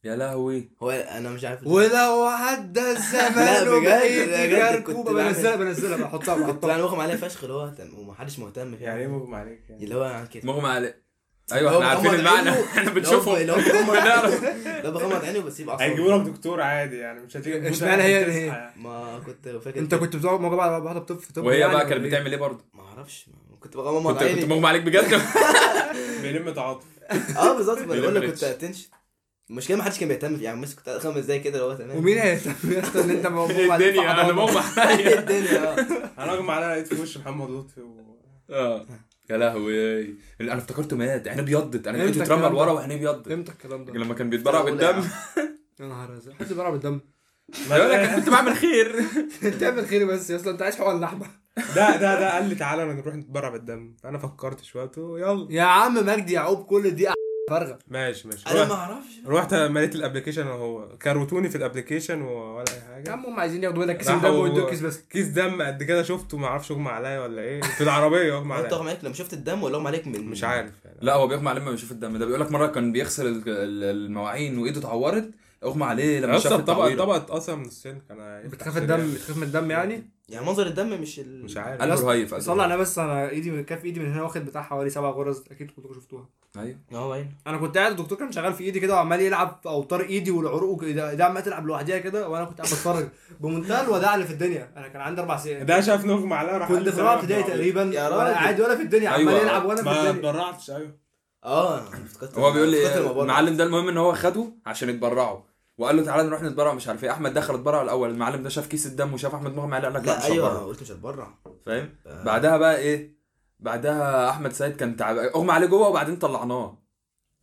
D: يا لهوي
A: هو انا مش عارف
B: ولو عدى الزمان
A: لا، بجد،
B: وبقيت
A: بجد
B: كركوبه
A: كنت بعمل-
B: بنزلها بنزلها بحطها
A: كنت
B: بحطها
A: انا مغمى عليا فشخ اللي هو تم- ومحدش مهتم فيها
C: يعني ايه مغمى عليك يعني
A: اللي هو يعني كده
D: مغمى عليه ايوه
A: لو
D: احنا عارفين
A: بغمض
D: المعنى
A: عينه-
D: احنا
A: اللي هو-
D: بنشوفه
A: اللي هو بغمض
D: بنعرف.
A: لا بغمض عيني وبسيب
C: هيجيبوا
A: اعصابي
C: لك دكتور عادي يعني مش هتيجي بوزة
B: اشمعنى هي-
C: تصحى
B: هي-
C: يعني.
A: ما كنت فاكر
B: انت كنت بتقعد مع بعض بعض بتب في طب
D: وهي
B: يعني
D: بقى
B: ولا
D: كانت
B: إيه؟
D: بتعمل ايه برضه
A: ما اعرفش ما- كنت بغمض
D: كنت كنت
A: عيني
D: مغمى عليك بجد
C: يعني. بيلم تعاطف
A: اه بالظبط ما انا بقول لك
D: بيليفرج.
A: كنت اتنشن المشكله ما حدش كان بيهتم في- يعني بس كنت قاعد خمس دقايق كده اللي هو تمام
B: ومين هيهتم يا اسطى ان انت موضوع
D: الدنيا انا مغمى عليا
A: إيه الدنيا آه.
C: انا اغمى عليا لقيت في وش محمد لطفي و...
D: اه يا لهوي انا افتكرته مات عينيه بيضت انا
B: امتى
D: لقيته اترمى
B: الكلام ده؟
D: لورا وعينيه بيضت
B: امتى الكلام ده؟
D: لما كان بيتبرع
A: أولى يا
D: بالدم
B: يا نهار ازرق حد بيلعب الدم
D: يقول لك انا كنت بعمل خير
B: تعمل خير بس يا اسطى انت عايز حقوق اللحمه
C: ده ده ده قال لي تعالى نروح نتبرع بالدم فانا فكرت شويه قلت له يلا
B: يا عم مجدي يعقوب كل دي فارغه
C: ماشي ماشي
A: انا ما
C: رحت-
A: اعرفش
C: رحت مليت الابلكيشن وهو كروتوني في الابلكيشن ولا اي حاجه
B: يا عم هم عايزين ياخدوا منك كيس
C: راحوا-
B: الدم ويدوك كيس بس
C: كيس دم قد كده شفته ما اعرفش اغمى عليا ولا ايه في العربيه اغمى
A: انت
C: عليا
A: اغمى عليك لما شفت الدم ولا اغمى عليك من
C: مش عارف يعني
D: لا هو بيغمى عليه لما بيشوف الدم ده بيقول لك مره كان بيغسل ال- ال- المواعين وايده اتعورت اغمى عليه لما شاف
C: اصلا الطبق الطبق
D: الطبق
C: اتقسم من السن كان هيفتح
B: بتخاف
C: سن
B: الدم
C: يعني.
B: بتخاف من الدم يعني
A: يعني منظر الدم مش ال...
C: مش عارف
D: قلبه رهيف قلبه
B: صلى
D: رهيف.
B: على بس انا ايدي من كف ايدي من هنا واخد بتاع حوالي سبع غرز اكيد كنتوا شفتوها
D: ايوه
A: اه باين
B: انا كنت قاعد الدكتور كان شغال في ايدي كده وعمال يلعب في اوتار ايدي والعروق ده ده عمال تلعب لوحدها كده وانا كنت قاعد بتفرج بمنتهى الوداع اللي في الدنيا انا كان عندي اربع سنين
C: ده شاف نغمى عليا راح قال
B: كنت
C: لي
B: في رابعه
C: تعالى
B: ابتدائي
C: نتبرع
B: تقريبا
A: يا
B: ولا
A: راجل.
B: قاعد ولا في الدنيا عمال
D: أيوة.
B: يلعب وانا
C: بالدم.
B: في
C: ما
B: الدنيا
C: اتبرعتش ايوه
A: اه أنا افتكرت
D: هو بيقول
A: افتكرت
D: لي
A: الموضوع ده.
D: المعلم ده المهم ان هو خده عشان يتبرعوا وقال له تعالى نروح نتبرع مش عارف ايه احمد دخل اتبرع الاول المعلم ده شاف كيس الدم وشاف احمد مغمى عليه قال لك لا
A: لا
D: مش
A: ايوه
D: هتبرع
A: قلت مش هتبرع
D: فاهم
A: آه.
D: بعدها بقى ايه بعدها احمد سيد كان تعب اغمى عليه جوه وبعدين طلعناه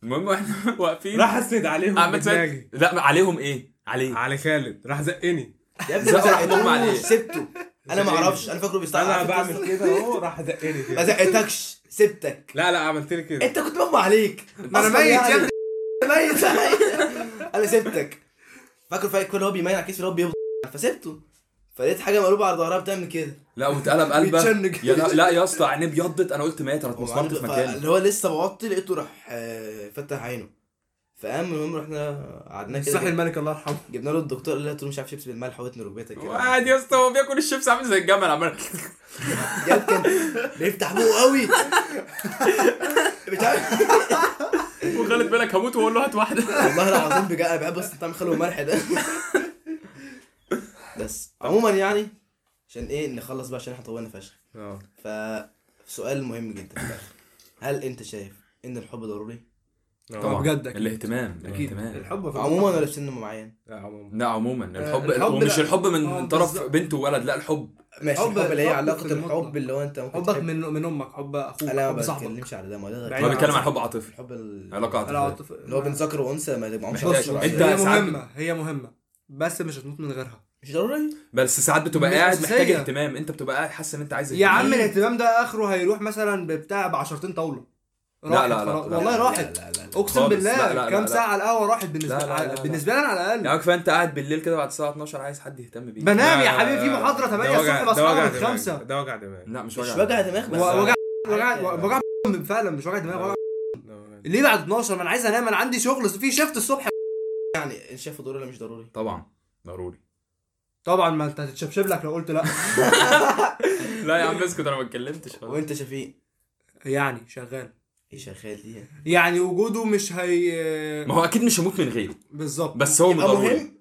D: المهم واحنا
B: إيه؟
D: واقفين
C: راح اسند عليهم
D: احمد
C: بدماغي.
D: سيد لا عليهم ايه عليه
C: علي خالد راح زقني
A: يا ابني
D: زقوا
A: ما
D: راح يضم عليه.
A: زقتوش، سبته انا ما اعرفش انا فاكره بيستعجل
C: انا
A: على فكرة
C: بعمل كده اهو راح زقني
A: ما
C: كده
A: زقتكش سبتك
C: لا لا عملت لي كده
A: انت كنت مغمى عليك
B: ما انا
A: أصلاً
B: ميت
A: يعني.
B: يا ابني
A: أنا ميت انا سبتك فاكر فاكر كل هو بيميل على كتفي اللي هو بيبض فسبته فلقيت حاجه مقلوبه على ظهرها بتعمل كده
D: لا واتقلب قلبه
B: بيتشنج.
D: يا لا, لا يا اسطى عينيه بيضت انا قلت مات انا اتمسمرت في مكاني
A: اللي هو لسه بوطي لقيته راح آه، فتح عينه فقام المهم رحنا قعدنا
B: صحي
A: كده
B: الملك الله يرحمه
A: جبنا له الدكتور قال له هات له مش عارف شيبس بالملح واتني ركبتك كده
D: وقعد يا اسطى هو بياكل الشيبس عامل زي الجمل عمال
A: جاب كان بيفتح بوقه قوي مش عارف
D: وخالد بالك هموت واقول له هات واحده
A: والله العظيم بجد انا بحب بس طعم خلو الملح ده بس عموما يعني عشان ايه نخلص بقى عشان احنا طولنا فشخ
C: اه
A: فسؤال مهم جدا في الآخر. هل انت شايف ان الحب ضروري؟
C: آه.
D: طبعا
B: بجد أكيد.
D: الاهتمام
B: اكيد
D: الاهتمام
B: الحب في
A: عموما ولا في سن معين؟
C: لا عموما
D: لا عموما الحب,
B: آه، الحب
D: ومش
B: لا.
D: الحب من
B: آه،
D: طرف
B: بالظبط.
D: بنت وولد لا الحب
A: ماشي
B: حب-
A: الحب اللي هي
B: حبك
A: علاقه
B: في المطلق.
A: الحب اللي هو انت ممكن
B: حبك
A: تحب-
B: من من امك حب اخوك
A: لا
B: حب
A: ما
B: صاحبك
A: بتكلمش على ده ما ده
B: بعيد
D: هو
B: عن
D: بيتكلم عن
B: صاحبك.
D: حب عاطفي
A: الحب ال-
D: علاقه عاطفيه
B: لا عاطف
A: اللي هو بين ذكر وانثى ما تجمعهمش
D: محتاج-
A: عشرة.
D: انت
B: هي
D: ساعات
B: مهمه هي مهمه بس مش هتموت من غيرها
A: مش ضروري
D: بس ساعات بتبقى
B: مش
D: قاعد محتاج
B: أساسية.
D: اهتمام انت بتبقى قاعد حاسس ان انت عايز
B: يا عم
D: اهتمام.
B: الاهتمام ده اخره هيروح مثلا ببتاع بعشرتين طاوله
D: لا،
B: راحت
D: لا، لا،
B: خلاص.
D: لا،
B: والله
A: لا،
B: راحت
A: لا، لا، لا.
B: اقسم
D: خالص. لا،
B: بالله
D: لا،
B: كام
D: لا.
B: ساعه على القهوه راحت بالنسبه
D: لا، لا، لا،
B: على-
D: لا.
B: بالنسبه لي انا على الاقل
D: يعني كفايه انت قاعد بالليل كده بعد الساعه 12 عايز حد يهتم بيك
B: بنام نعم يا
C: لا،
B: حبيبي في محاضره
C: ده
B: 8
C: وجع-
B: الصبح
C: ده وجع
B: بصحى من
C: دماغ،
B: 5
C: ده وجع دماغ
D: لا مش
A: مش
D: وجع
A: وجع دماغ بس
B: وجع وجع وجع فعلا مش وجع دماغ وجع
C: ده وجع
B: ليه بعد 12 ما انا عايز انام انا عندي شغل في شيفت الصبح
A: يعني انت شايفه ضروري ولا مش ضروري؟
D: طبعا ضروري
B: طبعا ما انت هتتشبشب لك لو قلت لا
D: لا يا عم اسكت انا ما اتكلمتش خالص
A: وانت شفيق
B: يعني شغال
A: ايه شغال دي؟
B: يعني وجوده مش هي
D: ما هو اكيد مش هموت من غيره
B: بالظبط
D: بس هو
A: يبقى
D: ضروري
A: مهم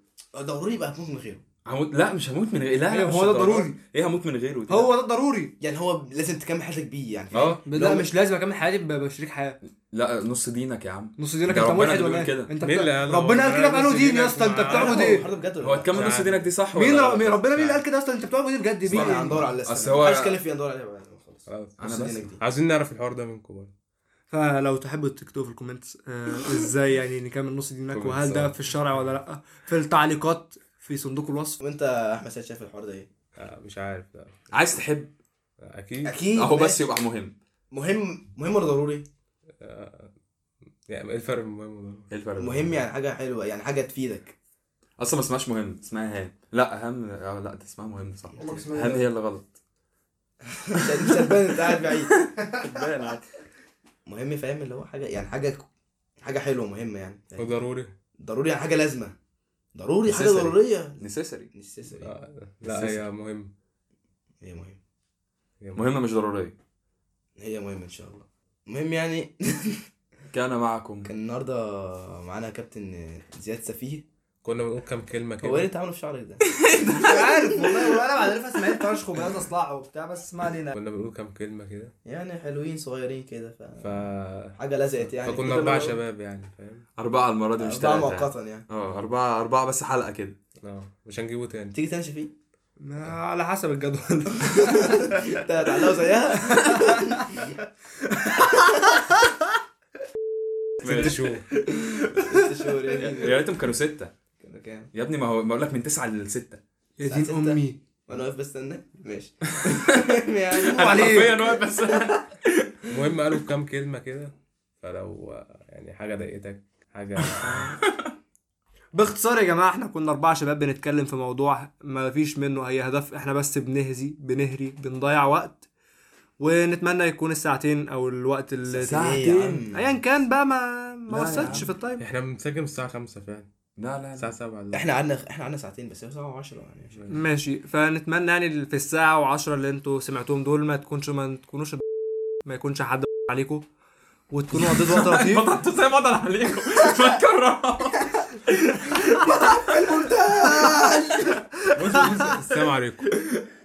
A: ضروري يبقى هتموت من غيره
D: هموت لا مش هموت من غيره لا
B: أيوة،
D: لا مش
B: هو ده
D: الدرجة.
B: ضروري.
D: ايه هموت من غيره دي؟
B: هو ده ضروري
A: يعني هو لازم تكمل حياتك بيه يعني فاهم؟
D: اه
B: لا مش لازم اكمل حياتي ب- بشريك حياه
D: لا نص دينك يا عم
B: نص دينك
D: ده
B: انت
D: ربنا
B: ملحد
D: اللي
B: ولا
D: بيقول
B: ايه
D: كده.
B: انت
C: مين اللي
B: بتاع-
C: قال-
B: ربنا قال كده
C: ربنا
B: بقاله
C: قال
B: دين يا
C: نص
B: اسطى انت
C: دينك
B: بتعبد
C: معاه.
B: ايه
A: الحوار ده بجد ولا
D: هو
A: لا؟
D: تكمل
C: مش
D: نص
C: عارف.
D: دينك دي صح
B: مين
D: ولا
B: را- مين ربنا مين اللي قال كده يا اسطى انت بتعبد ايه بجد
A: استنى،
B: مين
A: هندور يعني على
D: أصل هو-
A: عايز كلام فيه هندور عليه بقى. خلاص
C: خلاص.
D: انا
A: نص
D: بس
A: دينك دي.
C: عاوزين نعرف الحوار ده منكم برضه
B: فلو تحبوا تكتبوا في الكومنتس آه، ازاي يعني نكمل نص دينك وهل ده في الشرع ولا لا في التعليقات في صندوق الوصف
A: وانت يا احمد سيد شايف الحوار ده ايه؟
C: آه، مش عارف لا
D: عايز تحب
C: اكيد
A: اكيد
D: اهو بس
A: ماشي.
D: يبقى مهم
A: مهم مهم ولا ضروري؟
C: يعني ايه الفرق بين مهم وضروري
D: ايه الفرق
A: مهم يعني حاجه حلوه يعني حاجه تفيدك
D: اصلا ما اسمهاش مهم اسمها هام لا هام آه، لا دي اسمها مهم صح
A: والله اسمها
D: هام هي اللي غلط
A: مش هت- مش هتبان انت قاعد بعيد
D: باين عادي.
A: مهم فاهم اللي هو حاجه يعني حاجه حاجه حلوه مهمه يعني يعني
C: ضروري
A: ضروري يعني حاجه لازمه ضروري حاجه
D: necessary.
A: ضروريه
D: necessary
A: necessary.
C: آه، لا هي مهم
A: هي مهم
C: هي مهم.
D: مهمه مش ضروريه
A: هي مهمه ان شاء الله المهم يعني
D: كان معكم
A: كان النهارده معانا كابتن زياد سفيه
C: كنا بنقول كام كلمه
A: هو ايه اللي
C: كده
A: انت عامله في شعرك ده؟
B: مش عارف والله ولا انا بعرف اسمع ترشخ وبقى اصلع وبتاع بس ما علينا
C: كنا بنقول كام كلمه كده
A: يعني حلوين صغيرين كده ف
C: ف
A: حاجه لزقت يعني
C: فكنا اربع شباب يعني فاهم
D: اربعه المره دي مش
A: مش
D: ثلاثه يعني.
A: مؤقتا يعني
D: اه اربعه اربعه بس حلقه كده
C: اه مش هنجيبه تاني
A: تيجي تاني شفيق
B: على حسب الجدول
A: انت هتعلقوا زيها
C: ست شهور
A: ست شهور يعني
D: يا ريتهم كانوا سته
A: كانوا كام؟
D: يا ابني ما هو بقول لك من تسعه لسته
B: يا
A: ساعة
B: دين
A: ستة.
B: امي
A: وانا واقف بستناك ماشي يعني
D: انا
B: عليك.
D: حرفيا واقف بس
C: المهم قالوا كام كلمه كده فلو آه، يعني حاجه ضايقتك حاجه
B: باختصار يا جماعه احنا كنا اربعه شباب بنتكلم في موضوع ما فيش منه اي هدف احنا بس بنهزي بنهري بنضيع وقت ونتمنى يكون الساعتين او الوقت اللي
A: ساعتين إيه يا عم.
B: ايا كان بقى ما
D: لا
B: ما
D: يا
B: وصلتش
D: عم. يعني
B: في التايم
C: احنا بنسجل الساعه 5 فعلا
D: لا لا
C: الساعه
D: لا
C: 7 دلوقتي.
A: احنا قعدنا احنا قعدنا ساعتين بس هي ساعه و10 يعني مش-
B: ماشي فنتمنى يعني في الساعة و10 اللي انتوا سمعتوهم دول ما تكونش ما تكونوش ما يكونش حد عليكم وتكونوا قضيتوا وقت لطيف
D: بطلت زي بطل عليكم ما تكرر
C: بص- بص، السلام عليكم